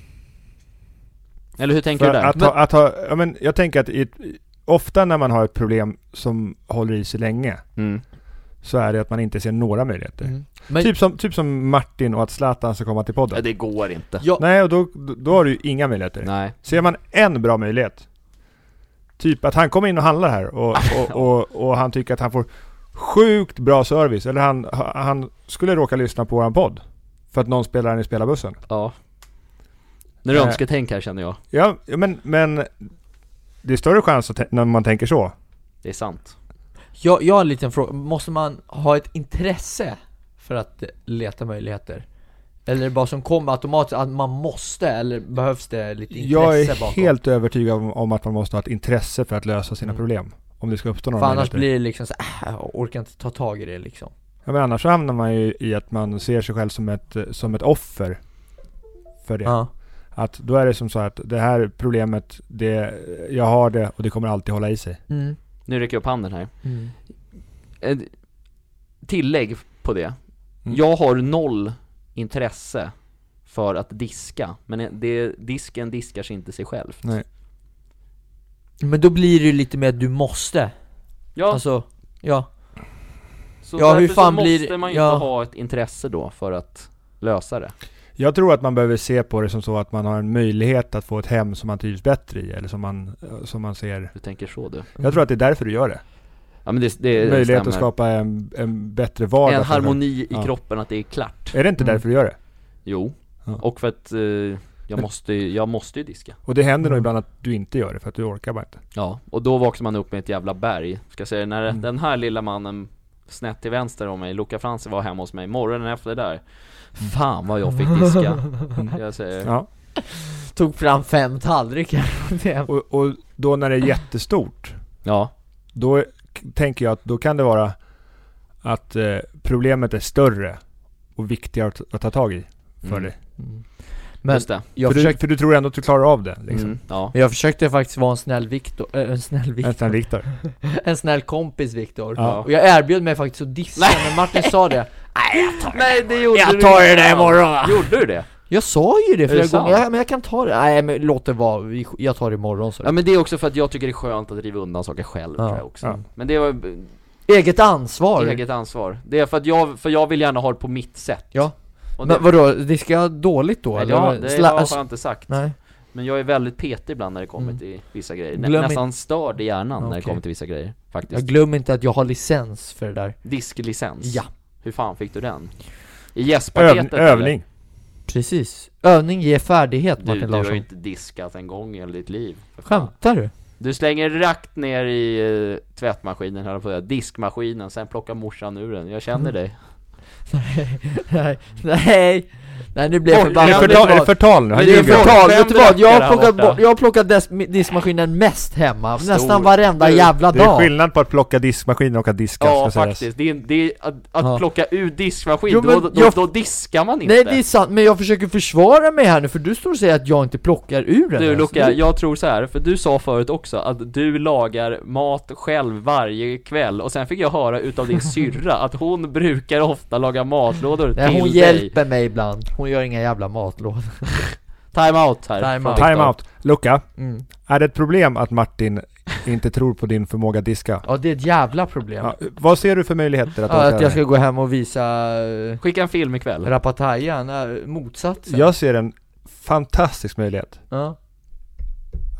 S1: Eller hur tänker
S3: För
S1: du där?
S3: att, ha, att ha, ja, men jag tänker att i, ett- ofta när man har ett problem som håller i sig länge
S1: Mm.
S3: så är det att man inte ser några möjligheter.
S2: Mm. Men
S3: Typ, som, typ som Martin och att Zlatan ska komma till podden.
S1: Ja, det går inte.
S2: jag,
S3: Nej, och då, då har du ju inga möjligheter.
S1: Nej.
S3: Ser man en bra möjlighet, typ att han kommer in och handlar
S1: (laughs)
S3: här och, och, och, och han tycker att han får sjukt bra service, eller han, han skulle råka lyssna på våran podd. För att någon spelar den i spelarbussen.
S1: Ja. Nu är det
S3: Eh.
S1: önsketänk här känner jag.
S3: Ja, ja, men, men det är större chans att, tän- när man tänker så.
S1: Det är sant.
S2: jag, jag har en liten fråga, måste man ha ett intresse för att eh, leta möjligheter? Eller är det bara som kommer automatiskt, att man måste, eller behövs det lite intresse
S3: Jag är
S2: bakom?
S3: helt övertygad om, om att man måste ha ett intresse för att lösa sina
S2: Mm.
S3: problem. Om det ska uppstå några
S2: För annars
S3: möjligheter.
S2: blir det liksom så äh, jag orkar inte ta tag i det liksom
S3: Ja, men annars så hamnar man ju i att man ser sig själv som ett, som ett offer. För det.
S2: Ja,
S3: Att då är det som så att det här problemet, det, jag har det och det kommer alltid hålla i sig.
S2: mm.
S1: Nu räcker jag upp handen här. Ett tillägg på det.
S3: Mm.
S1: Jag har noll intresse för att diska, men det, disken diskar sig inte sig själv.
S3: Nej.
S2: Men då blir det ju lite mer att du måste,
S1: Ja,
S2: alltså, ja
S1: så
S2: ja,
S1: därför
S2: hur fan
S1: så
S2: blir-
S1: måste man ju
S2: ja.
S1: inte ha ett intresse då för att lösa det.
S3: Jag tror att man behöver se på det som så att man har en möjlighet att få ett hem som man trivs bättre i. Eller som man, som man ser.
S1: Du tänker så du.
S3: Jag
S2: Mm.
S3: tror att det är därför du gör det.
S1: Ja men det, det
S3: Möjlighet
S1: stämmer.
S3: att skapa en, en bättre vardag.
S1: En
S3: för sig.
S1: harmoni i
S3: Ja.
S1: kroppen att det är klart.
S3: Är det inte
S2: Mm.
S3: därför du gör det?
S1: Jo.
S3: Ja.
S1: Och för att eh, jag, måste, ju- jag måste ju diska.
S3: Och det händer nog
S2: Mm.
S3: ibland att du inte gör det för att du orkar bara inte.
S1: Ja. Och då vaknar man upp med ett jävla berg. Ska jag säga, när
S3: Mm.
S1: den här lilla mannen snett till vänster om mig, Luca Franzi var hemma hos mig morgonen efter det där.
S2: Mm.
S1: Fan vad jag fick diska. Jag säger,
S3: Ja.
S2: Tog fram fem tallrikar det.
S3: Och, och då när det är jättestort,
S1: ja.
S3: då är- k- tänker jag att då kan det vara att eh, problemet är större och viktigare att, att ta tag i för
S1: Mm.
S3: dig.
S2: Men
S1: Just det.
S2: jag,
S3: för,
S2: försökte,
S3: du, för du tror ändå att du klarar av det. Liksom.
S1: Mm. Ja.
S2: men jag försökte faktiskt vara en snäll Viktor, äh, en snäll
S3: En
S2: Viktor,
S3: sån Viktor.
S2: en snäll kompis Viktor
S1: Ja.
S2: Och jag erbjöd mig faktiskt att dissa, men Martin sa det
S1: Nej det gjorde
S2: Jag
S1: du
S2: tar det
S1: inte
S2: där
S1: alls.
S2: imorgon.
S1: Ah. Gjorde du det?
S2: Jag sa ju det
S1: det
S2: flera
S1: sant?
S2: gånger, ja, men jag kan ta det, nej men låt det vara, Vi- jag tar det imorgon så.
S1: Ja men det är också för att jag tycker det är skönt att riva undan saker själv
S2: Ja.
S1: tror jag också.
S3: Ja.
S1: Men det var
S2: Eget ansvar!
S1: eget ansvar. Det är för att jag, för jag vill gärna ha det på mitt sätt.
S2: Ja.
S1: Och det,
S2: Men vadå, det ska jag dåligt då
S1: nej,
S2: eller?
S1: ja, det
S2: Sla- alltså-
S1: har jag inte sagt.
S2: Nej,
S1: Men jag är väldigt petig ibland när det kommer
S2: Mm.
S1: till vissa grejer. Nä,
S2: Glöm
S1: nästan störd i hjärnan när det
S2: Okej.
S1: kommer till vissa grejer.
S2: jag
S1: Faktiskt.
S2: glömmer inte att jag har licens för det där
S1: Disklicens.
S2: Ja,
S1: Hur fan fick du den? I
S3: Öv,
S1: gästpaketet eller?
S3: övning.
S2: precis. Övning ger färdighet
S1: Du,
S2: Martin
S1: du har
S2: Larsson.
S1: ju inte diskat en gång i hela ditt liv. För fan.
S2: Skämtar du?
S1: Du slänger rakt ner i eh, tvättmaskinen, höll jag på att säga, diskmaskinen, sen plockar morsan ur den. Jag
S2: Mm.
S1: känner dig.
S2: nej, nej, nej nu blir jag
S1: Oj,
S3: Är det
S2: förbannad.
S3: förtal, är det förtal nu?
S1: Men
S3: Han
S2: Det är
S1: bra.
S3: ljuger.
S2: förtal, vet du
S1: Skämtar
S2: vad? Jag
S1: där
S2: har plockat,
S1: borta.
S2: bort, jag har plockat des, diskmaskinen mest hemma,
S1: Stor.
S2: nästan varenda
S1: Du,
S2: jävla
S3: Det är
S2: dag
S3: skillnad på att plocka diskmaskinen och att diska
S1: Ja
S3: ska sägas.
S1: faktiskt, det är, det är att, att
S2: Ja.
S1: plocka ur diskmaskin,
S2: Jo,
S1: då,
S2: men
S1: då,
S2: jag-
S1: då diskar man inte
S2: Nej det är sant, men jag försöker försvara mig här nu för du står och säger att jag inte plockar ur den
S1: Du
S2: ens.
S1: Luca, jag tror så här, för du sa förut också att du lagar mat själv varje kväll och sen fick jag höra utav
S2: (laughs)
S1: din syrra att hon brukar ofta laga matlådor
S2: Nej,
S1: till
S2: hon
S1: dig.
S2: hjälper mig ibland, hon gör inga jävla matlådor
S1: Time out här.
S2: Time
S1: från
S2: out.
S1: Viktor.
S3: Time out. Luca,
S2: mm.
S3: är det ett problem att Martin inte tror på din förmåga att diska?
S2: Ja det är ett jävla problem
S3: Ja, vad ser du för möjligheter att
S2: Ja,
S3: åtgärda
S2: att jag
S3: det?
S2: ska gå hem och visa uh,
S1: Skicka en film ikväll.
S2: Rapataja, nej, motsatsen
S3: Jag ser en fantastisk möjlighet.
S2: ja.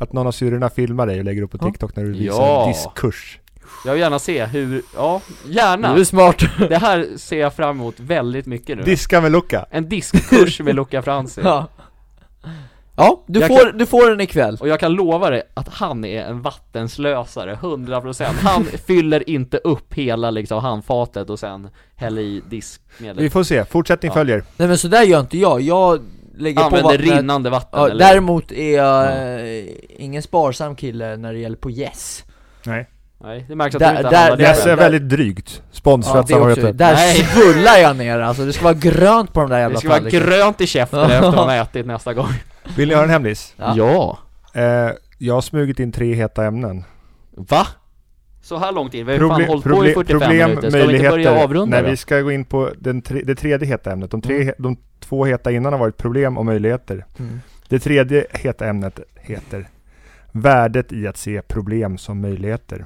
S3: Att någon av syrrorna filmar dig och lägger upp på
S2: Ja.
S3: TikTok när du visar
S1: Ja.
S3: en diskkurs.
S1: Jag vill gärna se hur, ja, gärna.
S2: Du är smart
S1: (laughs) Det här ser jag fram emot väldigt mycket nu.
S3: Diska med Luca!
S1: En diskkurs med Luca Franzi.
S2: (laughs) Ja, ja du,
S1: Jag
S2: får, du får den ikväll
S1: Och jag kan lova dig att han är en vattenslösare, 100% Han fyller inte upp hela liksom handfatet och sen häller i diskmedel
S3: Vi får se, fortsättning
S1: Ja.
S3: följer.
S2: Nej men sådär gör inte jag, jag lägger på
S1: Använder
S2: vattnet
S1: rinnande vatten
S2: ja,
S1: eller?
S2: Däremot är jag eh, ingen sparsam kille när det gäller på yes
S3: Nej.
S1: Nej, det märks att
S2: Där-
S1: du inte
S2: där-
S1: handlar
S3: Det
S2: där-
S1: där,
S3: är väldigt drygt. Sponsrat
S2: det
S3: ja,
S2: också,
S3: samarbete.
S2: där
S1: Nej.
S2: svullar jag ner alltså, det ska vara grönt på de där jävla
S1: Det ska vara
S2: tallrikarna.
S1: grönt i käften efter man
S2: (laughs)
S1: har ätit nästa gång
S3: Vill ni höra en hemlis?
S2: Ja.
S3: Eh, jag har smugit in tre heta ämnen.
S1: Va? Så här långt in, vi har ju fan
S3: Proble-
S1: hållit på i 45 minuter, ska vi inte börja avrunda
S3: Nej,
S1: då?
S3: vi ska gå in på den tre, det tredje heta ämnet. De, tre,
S2: Mm.
S3: he- de två heta innan har varit problem och möjligheter.
S2: Mm.
S3: Det tredje heta ämnet heter Värdet i att se problem som möjligheter.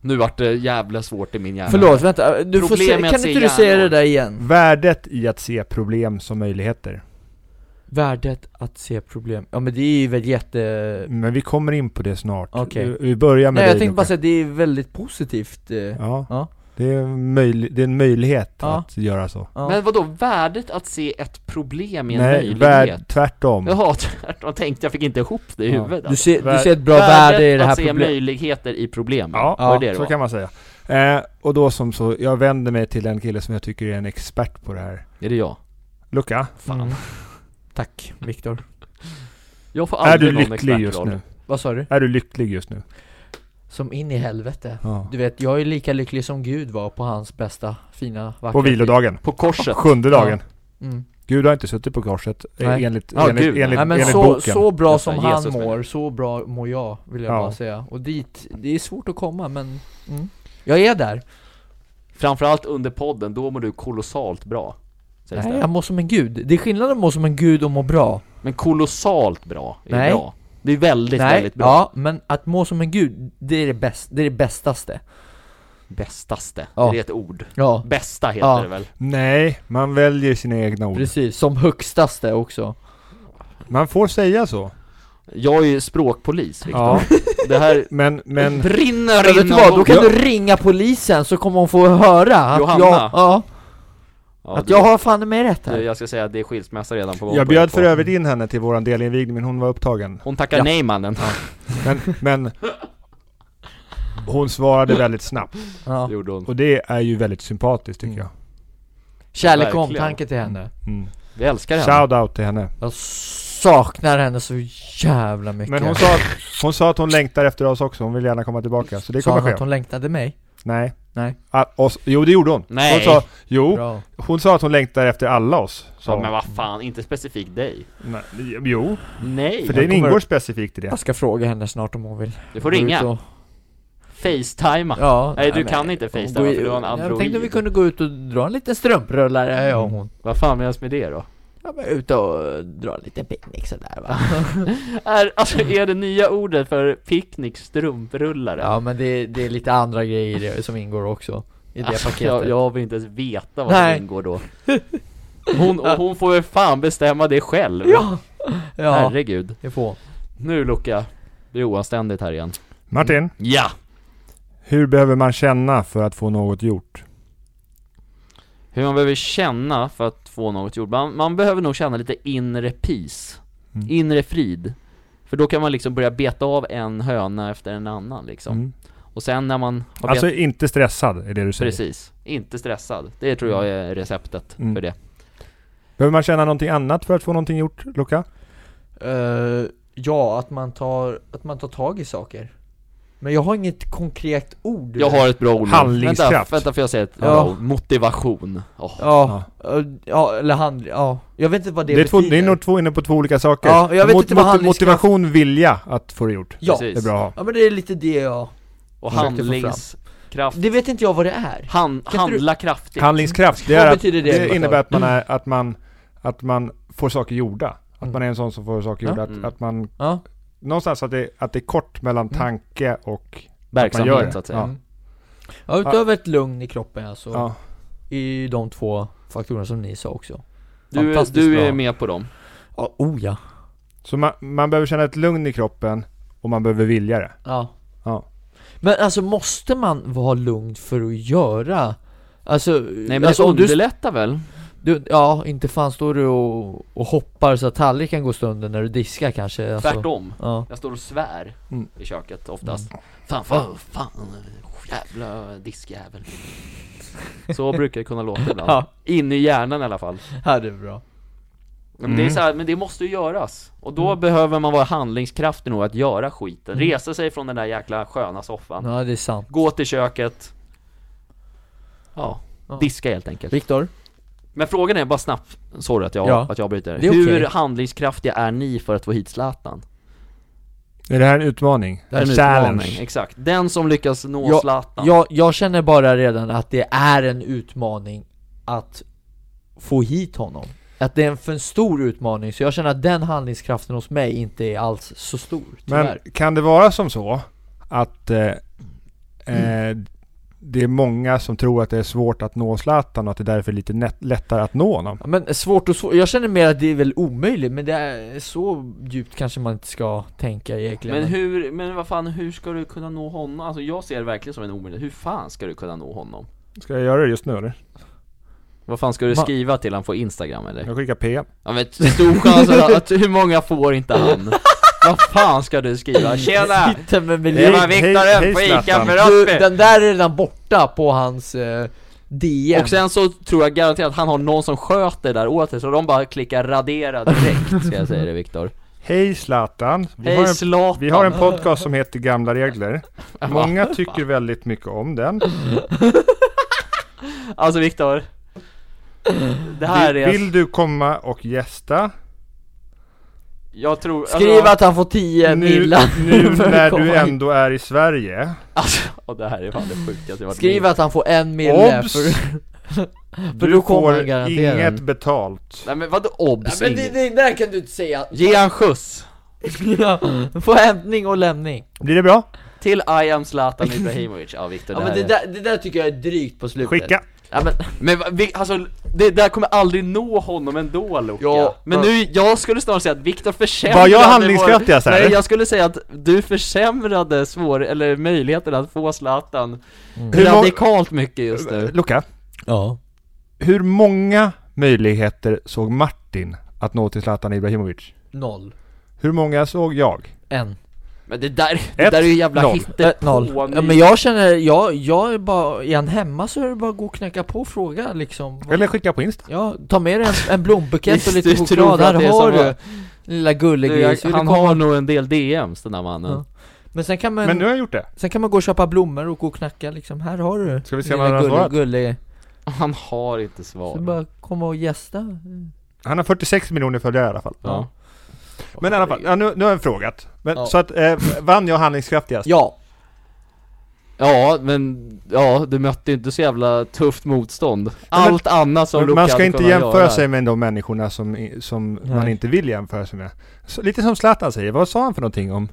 S1: Nu vart det jävla svårt i min hjärna
S2: Förlåt, vänta, du får
S1: Problem
S2: se,
S1: med
S2: kan
S1: att se
S2: inte du säga
S1: hjärnor.
S2: det där igen?
S3: Värdet i att se problem som möjligheter.
S2: Värdet att se problem, ja men det är ju väl jätte...
S3: Men vi kommer in på det snart.
S2: Okej.
S3: Vi- Vi börjar med
S2: Nej jag
S3: dig
S2: tänkte bara
S3: Luca.
S2: säga att det är väldigt positivt eh,
S3: Ja,
S2: Ja.
S3: Det, är en möjli- det är en möjlighet
S2: Ja.
S3: att göra så.
S2: ja.
S1: Men vadå, värdet att se ett problem i en
S3: Nej,
S1: möjlighet?
S3: värd, tvärtom.
S1: Jaha, (laughs) tvärtom tänkte jag, fick inte ihop det i
S3: Ja.
S1: huvudet
S2: du, ser, du
S3: Vär-
S2: ser ett bra
S1: Värdet
S2: värde i det här
S1: att se
S2: problemet
S1: möjligheter i problem
S3: Ja,
S1: var det det
S3: så
S1: var?
S3: kan man säga. Eh, och då som så, jag vänder mig till en kille som jag tycker är en expert på det här.
S1: Är det jag?
S3: Luca,
S1: Fan.
S2: Mm. Tack, Viktor
S1: Jag får
S3: är
S1: aldrig
S3: du
S1: någon
S3: lycklig
S1: expertroll.
S3: just nu?
S2: Vad sa du?
S3: Är du lycklig just nu?
S2: Som in i helvete
S3: Ja.
S2: Du vet, jag är lika lycklig som Gud var på hans bästa, fina, vackra
S3: På vilodagen,
S1: På korset?
S3: sjunde
S2: Ja.
S3: dagen.
S2: Mm.
S3: Gud har inte suttit på korset eh,
S2: Nej.
S3: enligt,
S1: Ja,
S3: enligt,
S1: Gud, nej.
S3: enligt,
S2: Nej men
S3: enligt
S2: så,
S3: boken.
S2: så bra
S1: Nästan
S2: som han
S1: Jesus, men-
S2: mår, så bra mår jag vill jag
S3: Ja.
S2: bara säga Och dit, det är svårt att komma men mm. Jag är där!
S1: Framförallt under podden, då mår du kolossalt bra sägs
S2: Nej
S1: det.
S2: jag mår som en gud, det är skillnad att må som en gud och må bra
S1: Men kolossalt bra är
S2: Nej.
S1: bra Det är väldigt,
S2: Nej,
S1: väldigt bra
S2: ja men att må som en gud, det är det bäst, det är det bästaste
S1: Bästaste,
S2: Ja.
S1: det är ett ord
S2: Ja,
S1: Bästa heter
S2: Ja.
S1: det väl?
S3: Nej, man väljer sina egna ord.
S2: precis, som högstaste också
S3: Man får säga så.
S1: Jag är ju språkpolis Viktor.
S3: Ja,
S1: Det här
S3: men, (laughs) men
S1: brinner
S2: Men vet du
S1: inom
S2: vad, då kan
S1: ja.
S2: du ringa polisen så kommer hon få höra att
S1: Johanna.
S2: jag, ja,
S1: Ja,
S2: att
S1: du-
S2: jag har fan med rätt
S1: du,
S2: här
S1: Jag ska säga att det är skilsmässa redan på gång
S3: jag
S1: på
S3: bjöd
S1: er två.
S3: för övrigt in henne till våran delinvigning, men hon var upptagen.
S1: Hon tackar
S2: Ja.
S1: nej mannen
S3: Men, men hon svarade väldigt snabbt.
S2: ja.
S1: Det gjorde hon
S3: Och det är ju väldigt sympatiskt tycker
S2: Mm.
S3: jag.
S2: Kärlek och
S1: Verkligen.
S2: omtanke till henne
S3: Mm.
S1: Vi älskar henne
S3: Shout out till henne.
S2: Jag saknar henne så jävla mycket
S3: Men hon sa, att, hon sa att hon längtar efter oss också, hon vill gärna komma tillbaka. Så det
S2: Sa
S3: kommer
S2: hon
S3: ske.
S2: att hon längtade mig?
S3: Nej.
S2: Nej.
S3: Ah, oss, jo det gjorde hon.
S1: Nej.
S3: Hon sa, jo,
S2: Bra.
S3: hon sa att hon längtar efter alla oss. Sa
S1: Ja,
S3: hon.
S1: men vad fan, inte specifikt dig
S3: Nej, jo,
S1: Nej!
S3: för det
S2: kommer-
S3: ingår specifikt i det.
S2: Jag ska fråga henne snart om hon vill
S1: Du får
S2: gå ut
S1: ringa, (laughs)
S2: och-
S1: facetimea
S2: Ja,
S1: Nej, du kan inte
S2: Hon
S1: facetime
S2: går i-
S1: för du har en android
S2: Jag tänkte att vi kunde gå ut och dra en liten strumprullare, jag och hon
S1: Vad fan menas med det då?
S2: Ja men ut och dra en liten picknick sådär
S1: (laughs)
S2: va
S1: Är, alltså, är det nya ordet för picknick strumprullare?
S2: Ja men det, det är lite andra grejer i det som ingår också I det
S1: Alltså,
S2: paketet
S1: jag, jag vill inte ens veta vad
S2: Nej.
S1: som ingår
S2: (laughs)
S1: då hon, och hon får väl fan bestämma det själv
S2: Ja! Ja,
S1: Herregud
S2: det får hon.
S1: Nu Luca, det är oanständigt här igen
S3: Martin,
S1: Ja!
S3: hur behöver man känna för att få något gjort?
S1: Hur man behöver känna för att få något gjort Man, man behöver nog känna lite inre peace
S3: Mm.
S1: Inre frid För då kan man liksom börja beta av en höna efter en annan liksom
S3: Mm.
S1: Och sen när man har
S3: Alltså
S1: betat,
S3: inte stressad, är det du säger.
S1: precis, inte stressad Det tror jag är receptet
S3: Mm.
S1: för det
S3: Behöver man känna någonting annat för att få någonting gjort, Luca?
S2: Eh, ja, att man, tar, att man tar tag i saker. Men jag har inget konkret ord.
S1: Jag har ett bra ord nu.
S3: Handlingskraft.
S1: Vänta, vänta får jag säga ett
S2: Ja.
S1: bra ord? Motivation Åh.
S2: Ja, eh, ja eller hand, ja. Jag vet inte vad det
S3: Det är, två,
S2: betyder.
S3: det är nog två inne på två olika saker.
S2: Ja, jag vet inte vad handlingskraft-
S3: motivation, vilja att få det gjort.
S2: Ja,
S1: Precis.
S3: Det är bra att ha.
S2: ja men det är lite det jag...
S1: Och
S2: Försökte få fram.
S1: handlingskraft
S2: Det vet inte jag vad det är.
S1: Han,
S2: du-
S1: Handla kraftigt
S3: Handlingskraft, det,
S2: Vad
S3: är att,
S2: betyder
S3: det,
S2: det, Mm. Lotta?
S3: innebär att man, är, att, man, att man får saker gjorda. Att
S2: Mm.
S3: man är en sån som får saker
S2: Ja.
S3: gjorda. Att,
S1: Mm.
S3: att man,
S2: Ja.
S3: någonstans att det, att det är kort mellan tanke och... man gör det.
S1: Verksamhet så att säga
S3: Ja.
S2: Mm. ja utöver ett lugn i kroppen alltså, ja.
S3: Ja.
S2: är ju de två faktorerna som ni sa också.
S1: du, är-
S2: Fantastiskt
S1: du är
S2: bra.
S1: med på dem
S2: Ja, oh ja.
S3: Så man, man behöver känna ett lugn i kroppen och man behöver vilja det.
S2: Ja.
S3: Ja.
S2: Men alltså måste man vara lugn för att göra? Alltså,
S1: Nej men
S2: alltså,
S1: det
S2: om du, Alltså.
S1: underlättar väl?
S2: du, ja inte fan står du och, och hoppar så att tallriken går stunden när du diskar kanske alltså.
S1: Tvärtom
S2: Ja.
S1: Jag står och svär
S3: Mm.
S1: i köket oftast
S2: Mm.
S1: Fan, fan, fan, jävla diskjävel Så brukar det kunna låta ibland
S2: (laughs) Ja.
S1: In i hjärnan i alla fall
S2: ja, det är bra
S1: Men det är så här, men det måste ju göras. Och
S2: Mm.
S1: då behöver man vara handlingskraftig nog att göra skiten. Resa sig från den där jäkla sköna soffan.
S2: Ja, det är sant.
S1: Gå till köket. Ja,
S2: Ja.
S1: diska helt enkelt.
S2: Viktor?
S1: Men frågan är bara snabbt, sorry att jag,
S2: Ja.
S1: att jag bryter.
S2: Det är
S1: Hur
S2: okej.
S1: handlingskraftiga är ni för att få hit Zlatan?
S3: Är det här en utmaning?
S1: Det är en
S3: Challenge.
S1: utmaning, exakt. Den som lyckas nå
S2: Ja,
S1: Zlatan.
S2: Jag, jag känner bara redan att det är en utmaning att få hit honom. Att det är en för stor utmaning, så jag känner att den handlingskraften hos mig inte är alls så stor, tyvärr.
S3: Men kan det vara som så att eh, eh, det är många som tror att det är svårt att nå Zlatan och att det därför är lite nät- lättare att nå honom?
S2: Ja, Men svårt och svårt, jag känner mer att det är väl omöjligt men det är så djupt kanske man inte ska tänka egentligen
S1: Men hur, men vad fan, hur ska du kunna nå honom? Alltså jag ser det verkligen som en omöjlighet. Hur fan ska du kunna nå honom?
S3: Ska jag göra det just nu eller?
S1: Vad fan ska du
S2: Ma-
S1: skriva till han på Instagram eller?
S3: Jag skickar PM.
S1: Ja men stor chans att, att hur många får inte han? vad fan ska du
S2: (laughs)
S1: skriva? Tjena!
S2: Sitter med
S1: Det
S2: miljö...
S1: var
S3: hej-
S1: Viktor
S3: hej,
S1: på ICA
S3: Zlatan.
S1: för
S2: Du,
S1: Rösby!
S2: den där är redan borta på hans eh, DM
S1: Och sen så tror jag garanterat att han har någon som sköter där åt sig, så de bara klickar radera direkt, ska jag säga det Viktor
S3: Hej Zlatan! Vi,
S1: Hej
S3: har en,
S1: Zlatan!
S3: vi har en podcast som heter Gamla Regler. Många tycker väldigt mycket om den.
S1: Alltså Viktor Det här
S2: alltså-
S1: är,
S3: Vill du komma och gästa?
S1: jag tror
S2: Skriv
S1: alltså,
S2: att han får 10
S3: Nu,
S2: millar (laughs)
S3: nu
S2: för att
S3: när
S2: komma
S3: du
S2: hit.
S3: ändå är i Sverige.
S1: alltså, och det här är fan det sjukaste jag varit
S2: Skriv
S1: med
S2: att han får en mille
S3: Obs!
S2: för... (laughs) för
S3: Du
S2: då kommer
S3: får
S2: han garanterat.
S3: inget betalt.
S1: om. Nej men vadå obs?
S2: Nej, men det,
S1: Inge?
S2: det där kan du inte säga! (laughs)
S1: Ge han skjuts!
S2: Ja, Få hämtning och lämning!
S3: Blir det bra?
S1: Till I am
S3: (laughs)
S1: Zlatan Ibrahimovic, ja Viktor
S2: Ja,
S1: det,
S2: men
S1: här
S2: det,
S1: är-
S2: där, det där tycker jag är drygt på slutet
S3: Skicka!
S2: Ja, men,
S1: Men va- vi, alltså, det där kommer aldrig nå honom ändå Luka
S2: Ja,
S1: Men
S2: men-
S1: nu, jag skulle snarare säga att Viktor försämrade
S3: Var jag handlingskraftigast
S1: vår...
S3: här?
S1: Nej jag skulle säga att du försämrade svår, eller möjligheten att få Zlatan
S3: Hur många-
S1: radikalt mycket just nu
S3: Luca,
S2: ja.
S3: hur många möjligheter såg Martin att nå till Zlatan Ibrahimovic?
S2: Noll.
S3: Hur många såg jag?
S2: En.
S1: Men det där, det
S3: Ett,
S1: där är ju jävla
S3: noll.
S2: Ett,
S1: hittepå
S2: noll. Ja, men jag känner, jag, jag är bara, är han hemma så är det bara att gå och knacka på och fråga liksom
S3: Eller skicka på Insta.
S2: Ja, ta med dig en, en blombukett och
S1: Visst,
S2: lite
S1: du
S2: choklad,
S1: tror att
S2: här
S1: det är
S2: har
S1: som
S2: du
S1: att-
S2: Lilla
S1: Du, jag,
S2: gullegris, hur det
S1: han
S2: kommer-
S1: har nog en del DMs den där mannen
S2: Ja. Men sen kan man,
S3: Men nu har jag gjort det.
S2: sen kan man gå och köpa blommor och gå och knacka liksom, här har du
S3: Ska vi se om
S2: lilla
S3: han har svarat?
S2: gullig.
S1: Han har inte
S2: Så
S1: svar
S2: bara komma och gästa
S3: Han har 46 miljoner följare i alla fall.
S1: ja.
S3: Men i alla fall, ja, nu, nu har jag frågat. Men,
S2: Ja.
S3: Så att, eh, vann jag handlingskraftigast?
S2: Ja,
S1: ja men, ja du mötte ju inte så jävla tufft motstånd Allt annat som Luka
S3: man ska
S1: hade
S3: inte
S1: kunnat
S3: jämföra
S1: göra.
S3: sig med de människorna som, i- som
S2: Nej.
S3: man inte vill jämföra sig med. Så, lite som Zlatan säger, vad sa han för någonting om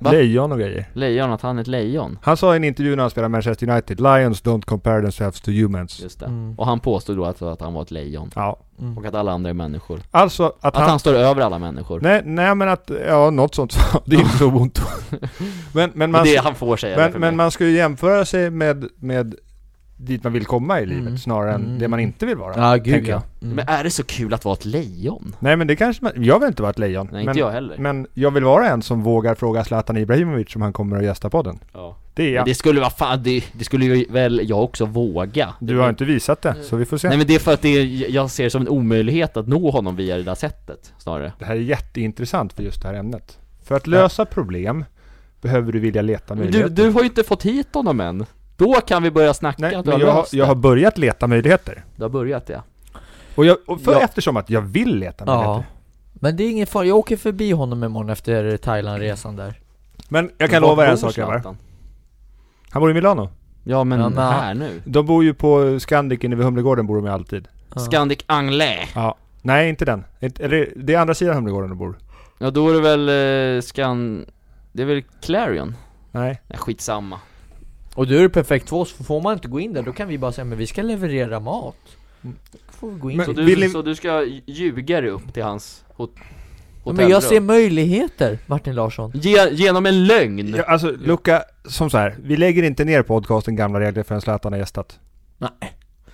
S1: Va?
S3: lejon och grejer?
S1: Lejon, att han är ett lejon
S3: Han sa i en intervju när han spelade Manchester United, Lions don't compare themselves to humans.
S1: Just det.
S2: Mm.
S1: Och han påstod då att, att han var ett lejon.
S3: Ja,
S2: mm.
S1: Och att alla andra är människor.
S3: alltså att,
S1: Att han, står över alla människor.
S3: Nej, nej men att, ja något sånt (laughs) sa- Det är inte
S1: (laughs)
S3: så ont. Men, men, man,
S1: det är han får säga det för
S3: men,
S1: mig.
S3: men man ska ju jämföra sig med, med dit man vill komma i livet
S2: Mm.
S3: snarare än
S2: Mm.
S3: det man inte vill vara.
S2: ja gud
S3: tänker
S2: ja mm.
S1: Men är det så kul att vara ett lejon?
S3: Nej men det kanske man, jag vill inte vara ett lejon.
S1: Nej,
S3: men,
S1: inte jag heller.
S3: men jag vill vara en som vågar fråga Zlatan Ibrahimovic om han kommer att gästa podden.
S1: Ja.
S3: Det är
S1: Men
S3: jag.
S1: det skulle vara fan, det, det skulle ju väl jag också våga.
S3: Du har inte visat det, så vi får se.
S1: Nej men det är för att det, är- jag ser det som en omöjlighet att nå honom via det där sättet, snarare.
S3: Det här är jätteintressant för just det här ämnet. För att lösa problem behöver du vilja leta
S1: Men Du,
S3: möjligheter.
S1: du har ju inte fått hit honom än. Då kan vi börja snacka
S3: Nej,
S1: att du
S3: men
S1: har
S3: jag, har,
S1: löst
S3: jag har
S1: det.
S3: börjat leta möjligheter.
S1: Du har börjat ja.
S3: Och, jag, och för,
S2: Ja.
S3: eftersom att jag vill leta möjligheter.
S2: Ja Men det är ingen fara, jag åker förbi honom imorgon efter Thailandresan där
S3: Men jag kan
S1: Var
S3: lova er
S1: bor
S3: en sak grabbar.
S1: Zlatan?
S3: Han bor i Milano.
S1: Ja men,
S2: Ja, men han-
S1: här nu.
S3: De bor ju på Scandic inne vid Humlegården bor de ju alltid.
S2: Ja.
S1: Scandic Anglais.
S3: Ja. Nej, inte den. Inte- Eller det är andra sidan Humlegården de bor.
S1: Ja då är det väl eh, Scan... Det är väl Clarion?
S3: Nej.
S1: Nej skitsamma.
S2: Och du är det perfekt för oss, för får man inte gå in där då kan vi bara säga men vi ska leverera mat Då får vi gå in
S3: Men-
S1: Så
S2: Mm. men,
S1: du,
S3: Vill ni-
S1: så du ska ljuga dig upp till hans hot hotellrum?
S2: men jag ser möjligheter Martin Larsson
S1: Ge, genom en lögn!
S3: Ja, alltså Luca, som så här. Vi lägger inte ner podcasten Gamla Regler förrän Zlatan har gästat.
S2: Nej.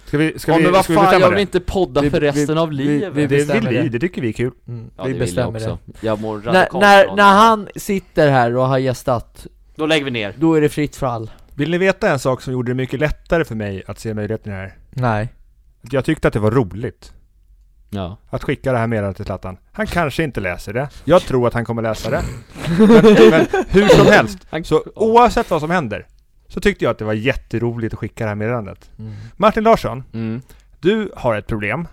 S3: Ska vi, ska
S1: ja,
S3: vi,
S1: men vad
S3: ska vi
S1: fan,
S3: bestämma
S1: jag vill
S3: det?
S1: inte podda
S2: Vi-
S1: för
S2: vi-
S1: resten av
S2: vi-
S1: livet!
S2: vi-
S3: Det vill
S2: bestämmer
S3: vi,
S2: det.
S3: det tycker vi är kul.
S2: mm.
S1: ja,
S2: Vi
S1: det vill jag
S2: bestämmer
S1: också.
S2: det
S1: Jag mår
S2: när,
S1: radikalt
S2: när,
S1: bra
S2: när
S1: nu.
S2: han sitter här och har gästat,
S1: Då lägger vi ner.
S2: då är det fritt för all
S3: Vill ni veta en sak som gjorde det mycket lättare för mig att se möjligheterna här?
S2: Nej
S3: Att Jag tyckte att det var roligt.
S1: Ja.
S3: att skicka det här meddelandet till Zlatan. Han kanske inte läser det. Jag tror att han kommer läsa det. Men, men hur som helst,
S1: Han-
S3: så oavsett vad som händer så tyckte jag att det var jätteroligt att skicka det här meddelandet.
S2: Mm.
S3: Martin Larsson,
S1: Mm.
S3: du har ett problem.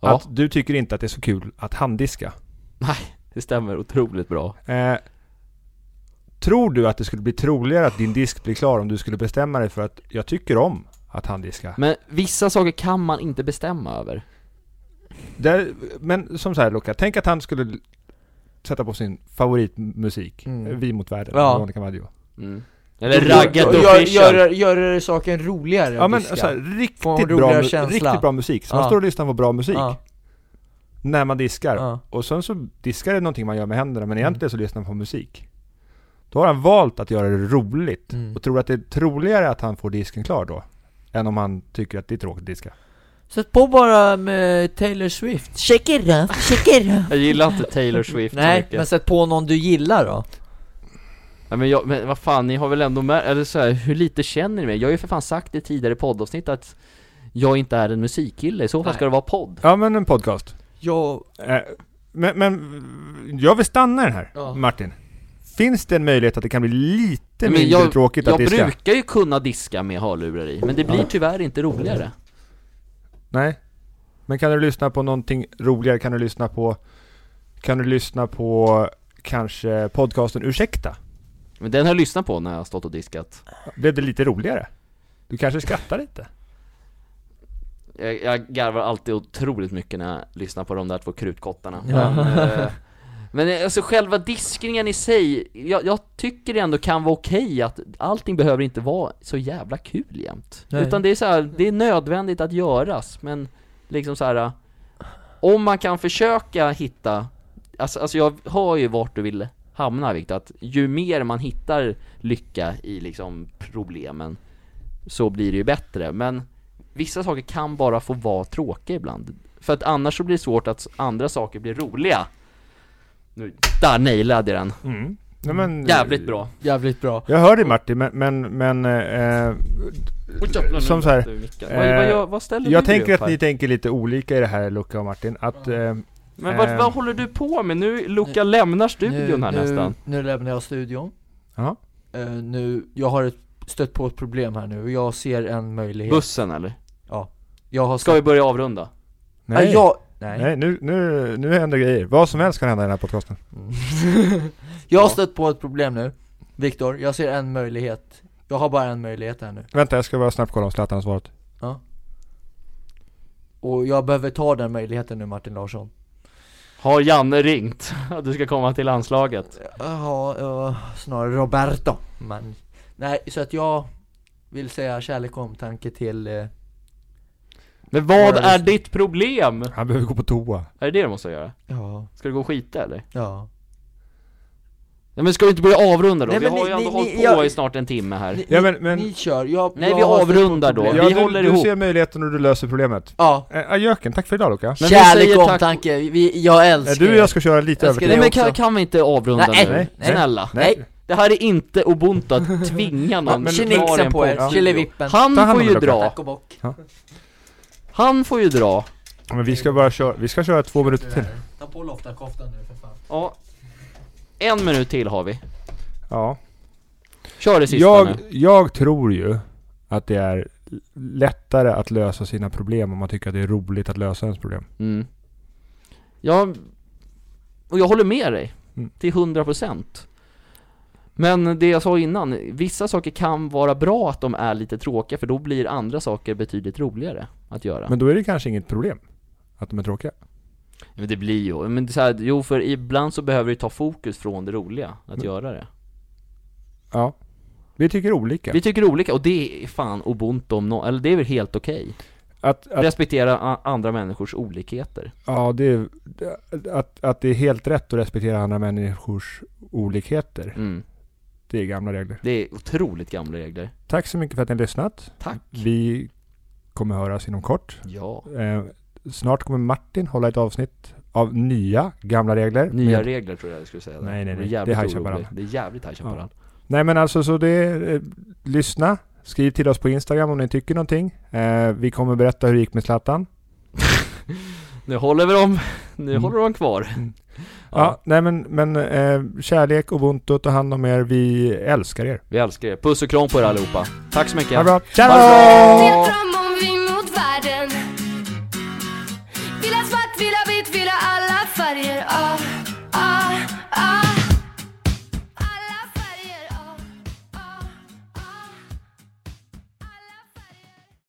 S1: Ja,
S3: Att du tycker inte att det är så kul att handdiska.
S1: det stämmer otroligt bra.
S3: Eh, tror du att det skulle bli troligare att din disk blir klar om du skulle bestämma dig för att jag tycker om att handdiska?
S1: Men vissa saker kan man inte bestämma över.
S3: Där, men som så här Luca, tänk att han skulle l- sätta på sin favoritmusik,
S2: Mm.
S3: Vi mot världen,
S2: Ja.
S3: ja. Veronica Maggio.
S1: Mm. Eller
S3: Gör-
S1: ragget
S3: gör-
S1: official.
S2: Gör, gör, gör saken roligare
S3: Ja
S2: att
S3: men
S2: diska.
S3: så här,
S2: Få en
S3: riktigt, bra,
S2: roligare
S3: mu-
S2: känsla.
S3: riktigt bra musik. Så man
S2: Ja.
S3: står och lyssnar på bra musik
S2: Ja,
S3: när man diskar.
S2: ja.
S3: Och sen så diskar det någonting man gör med händerna, men
S2: Mm.
S3: egentligen så lyssnar man på musik. Då har han valt att göra det roligt.
S2: Mm.
S3: Och tror att det är troligare att han får disken klar då? Än om han tycker att det är tråkigt att diska.
S2: Sätt på bara med Taylor Swift Shake it up, shake it up
S1: Jag gillar inte Taylor Swift så
S2: Nej,
S1: mycket.
S2: men sätt på någon du gillar då
S1: Ja, men, jag, men vad fan, ni har väl ändå med, eller så här, hur lite känner ni mig? Jag har ju för fan sagt i tidigare poddavsnitt att jag inte är en musikkille, i så fall
S2: Nej.
S1: ska det vara podd.
S3: Ja men en podcast.
S2: Jag...
S3: Eh, Men, men jag vill stanna i den här,
S2: Ja.
S3: Martin. Finns det en möjlighet att det kan bli lite
S1: Men
S3: mindre
S1: jag-
S3: tråkigt att
S1: Jag
S3: diska?
S1: brukar ju kunna diska med hörlurar i, men det blir tyvärr inte roligare.
S3: Nej. Men kan du lyssna på någonting roligare? Kan du lyssna på... Kan du lyssna på kanske podcasten Ursäkta?
S1: Men den har jag lyssnat på när jag har stått och diskat.
S3: Blev det lite roligare? Du kanske skrattar lite?
S1: Jag, jag garvar alltid otroligt mycket när jag lyssnar på de där två krutkottarna.
S2: Ja.
S1: Men, eh, men eh, alltså själva diskningen i sig, jag, jag tycker det ändå kan vara okej att allting behöver inte vara så jävla kul jämt.
S2: Nej.
S1: Utan det är så här, det är nödvändigt att göras, men liksom så här. eh, Om man kan försöka hitta, alltså, alltså jag har ju vart du vill hamna Viktor, att ju mer man hittar lycka i liksom problemen så blir det ju bättre, men vissa saker kan bara få vara tråkiga ibland. För att annars så blir det svårt att s- andra saker blir roliga. Nu, där nailade jag den.
S3: Mm. Nej, men,
S1: Jävligt bra.
S2: Jävligt bra
S3: Jag hör dig Martin, men, men, men eh, Som så här,
S1: Vad,
S3: eh,
S1: vad, gör- vad ställer
S3: jag
S1: du
S3: tänker
S1: upp
S3: att ni
S1: här?
S3: tänker lite olika i det här Luca och Martin. Att, eh,
S1: Men vad,
S3: eh,
S1: vad håller du på med? Nu, Luca lämnar studion
S2: nu,
S1: här
S2: nu,
S1: nästan.
S2: Nu lämnar jag studion
S3: Ja.
S2: Eh, Nu, jag har ett, stött på ett problem här nu och jag ser en möjlighet
S1: Bussen eller?
S2: Jag har
S1: Ska vi börja avrunda?
S2: Nej,
S3: nej,
S2: jag, nej.
S3: nej nu, nu, nu händer grejer. Vad som helst kan hända i den här podcasten.
S2: jag har
S1: Ja.
S2: stött på ett problem nu Viktor, jag ser en möjlighet Jag har bara en möjlighet här nu
S3: Vänta, jag ska bara snabbt kolla om Zlatan har svarat.
S2: Och jag behöver ta den möjligheten nu Martin Larsson
S1: Har Janne ringt? (laughs) Att du ska komma till landslaget?
S2: Ja, ja, snarare Roberto. Men, nej, så att jag vill säga kärlek och omtanke till... Eh,
S1: Men vad
S2: Ja,
S1: är
S2: visst.
S1: ditt problem?
S3: Han behöver gå på toa.
S1: Är det det du måste göra?
S2: ja,
S1: Ska du gå och skita eller?
S2: ja.
S1: Nej men ska vi inte börja avrunda då?
S2: Nej,
S1: vi
S2: men
S1: har
S2: ni-
S1: ju ändå
S2: ni-
S1: hållit
S2: ni-
S1: på
S2: jag-
S1: i snart en timme här.
S2: Ni,
S3: Ja, men, men,
S2: ni, ni kör, jag...
S1: Nej,
S2: jag
S1: vi
S2: har stött på
S1: avrundar då.
S2: problem.
S1: vi
S3: ja, du,
S1: håller
S3: du
S1: ihop.
S3: ser möjligheten och du löser problemet.
S2: Ja,
S3: Eh, Adjöken, tack för idag Luca.
S1: Men vi
S2: kärlek
S1: säger
S2: och
S1: tack-
S2: omtanke. Vi, jag älskar
S3: Eh, Du och
S2: er.
S3: jag ska köra lite
S2: Jag
S3: över
S2: ska-
S1: Nej
S3: till.
S1: men
S2: också.
S1: kan, kan vi inte avrunda
S2: Nej,
S1: nu?
S3: nej, nej.
S1: Snälla.
S2: Nej,
S1: Det här är inte ubuntu
S3: (laughs)
S1: att tvinga någon
S3: men-
S1: kvar i en
S2: tjenixen på er,
S1: podd.
S2: chilivippen.
S3: Ta
S1: Han
S3: hand
S1: får
S3: om
S1: ju
S3: det,
S1: dra.
S2: Tack och bock.
S1: Han får ju dra.
S3: Men vi ska bara köra, vi ska köra två minuter till.
S2: Ta på loftarkoftan nu för fan.
S1: Ja. En minut till har vi.
S3: Ja.
S1: Kör det sista
S3: Jag,
S1: nu.
S3: jag tror ju att det är lättare att lösa sina problem om man tycker att det är roligt att lösa ens problem.
S1: Mm. Jag... Och jag håller med dig.
S3: Mm.
S1: Till 100%. Men det jag sa innan, vissa saker kan vara bra att de är lite tråkiga för då blir andra saker betydligt roligare att göra.
S3: Men då är det kanske inget problem att de är tråkiga.
S1: Men det blir ju, men det är så här, jo för ibland så behöver du ta fokus från det roliga, att
S3: Men-
S1: göra det.
S3: Ja. Vi tycker olika.
S1: Vi tycker olika och det är fan ubuntu om nå, eller det är väl helt okej?
S3: Att, att,
S1: Respektera a- andra människors olikheter.
S3: ja, det är, att, att det är helt rätt att respektera andra människors olikheter.
S1: Mm.
S3: Det är gamla regler.
S1: Det är otroligt gamla regler.
S3: Tack så mycket för att ni har lyssnat.
S1: Tack.
S3: Vi kommer höras inom kort.
S1: Ja.
S3: Eh, snart kommer Martin hålla ett avsnitt av nya gamla regler.
S1: Nya
S3: Med-
S1: regler tror jag jag skulle säga. där.
S3: Nej, nej, nej.
S1: är jävligt
S3: Det är High
S1: orolig.
S3: Chaparral.
S1: Det är jävligt High Chaparral.
S3: Nej men alltså så det, är, eh, lyssna. Skriv till oss på Instagram om ni tycker någonting. Eh, vi kommer berätta hur det gick med Zlatan.
S1: Nu håller vi dem, nu
S3: Mm.
S1: håller de kvar.
S3: Ja, nej men, men eh, kärlek, ubuntu, ta hand om er. Vi älskar er.
S1: Vi älskar er. Puss och kram på er allihopa. Tack så mycket.
S3: Ha det bra. Tja
S1: Ha det bra.
S3: då!
S4: Till från Ah, Ah,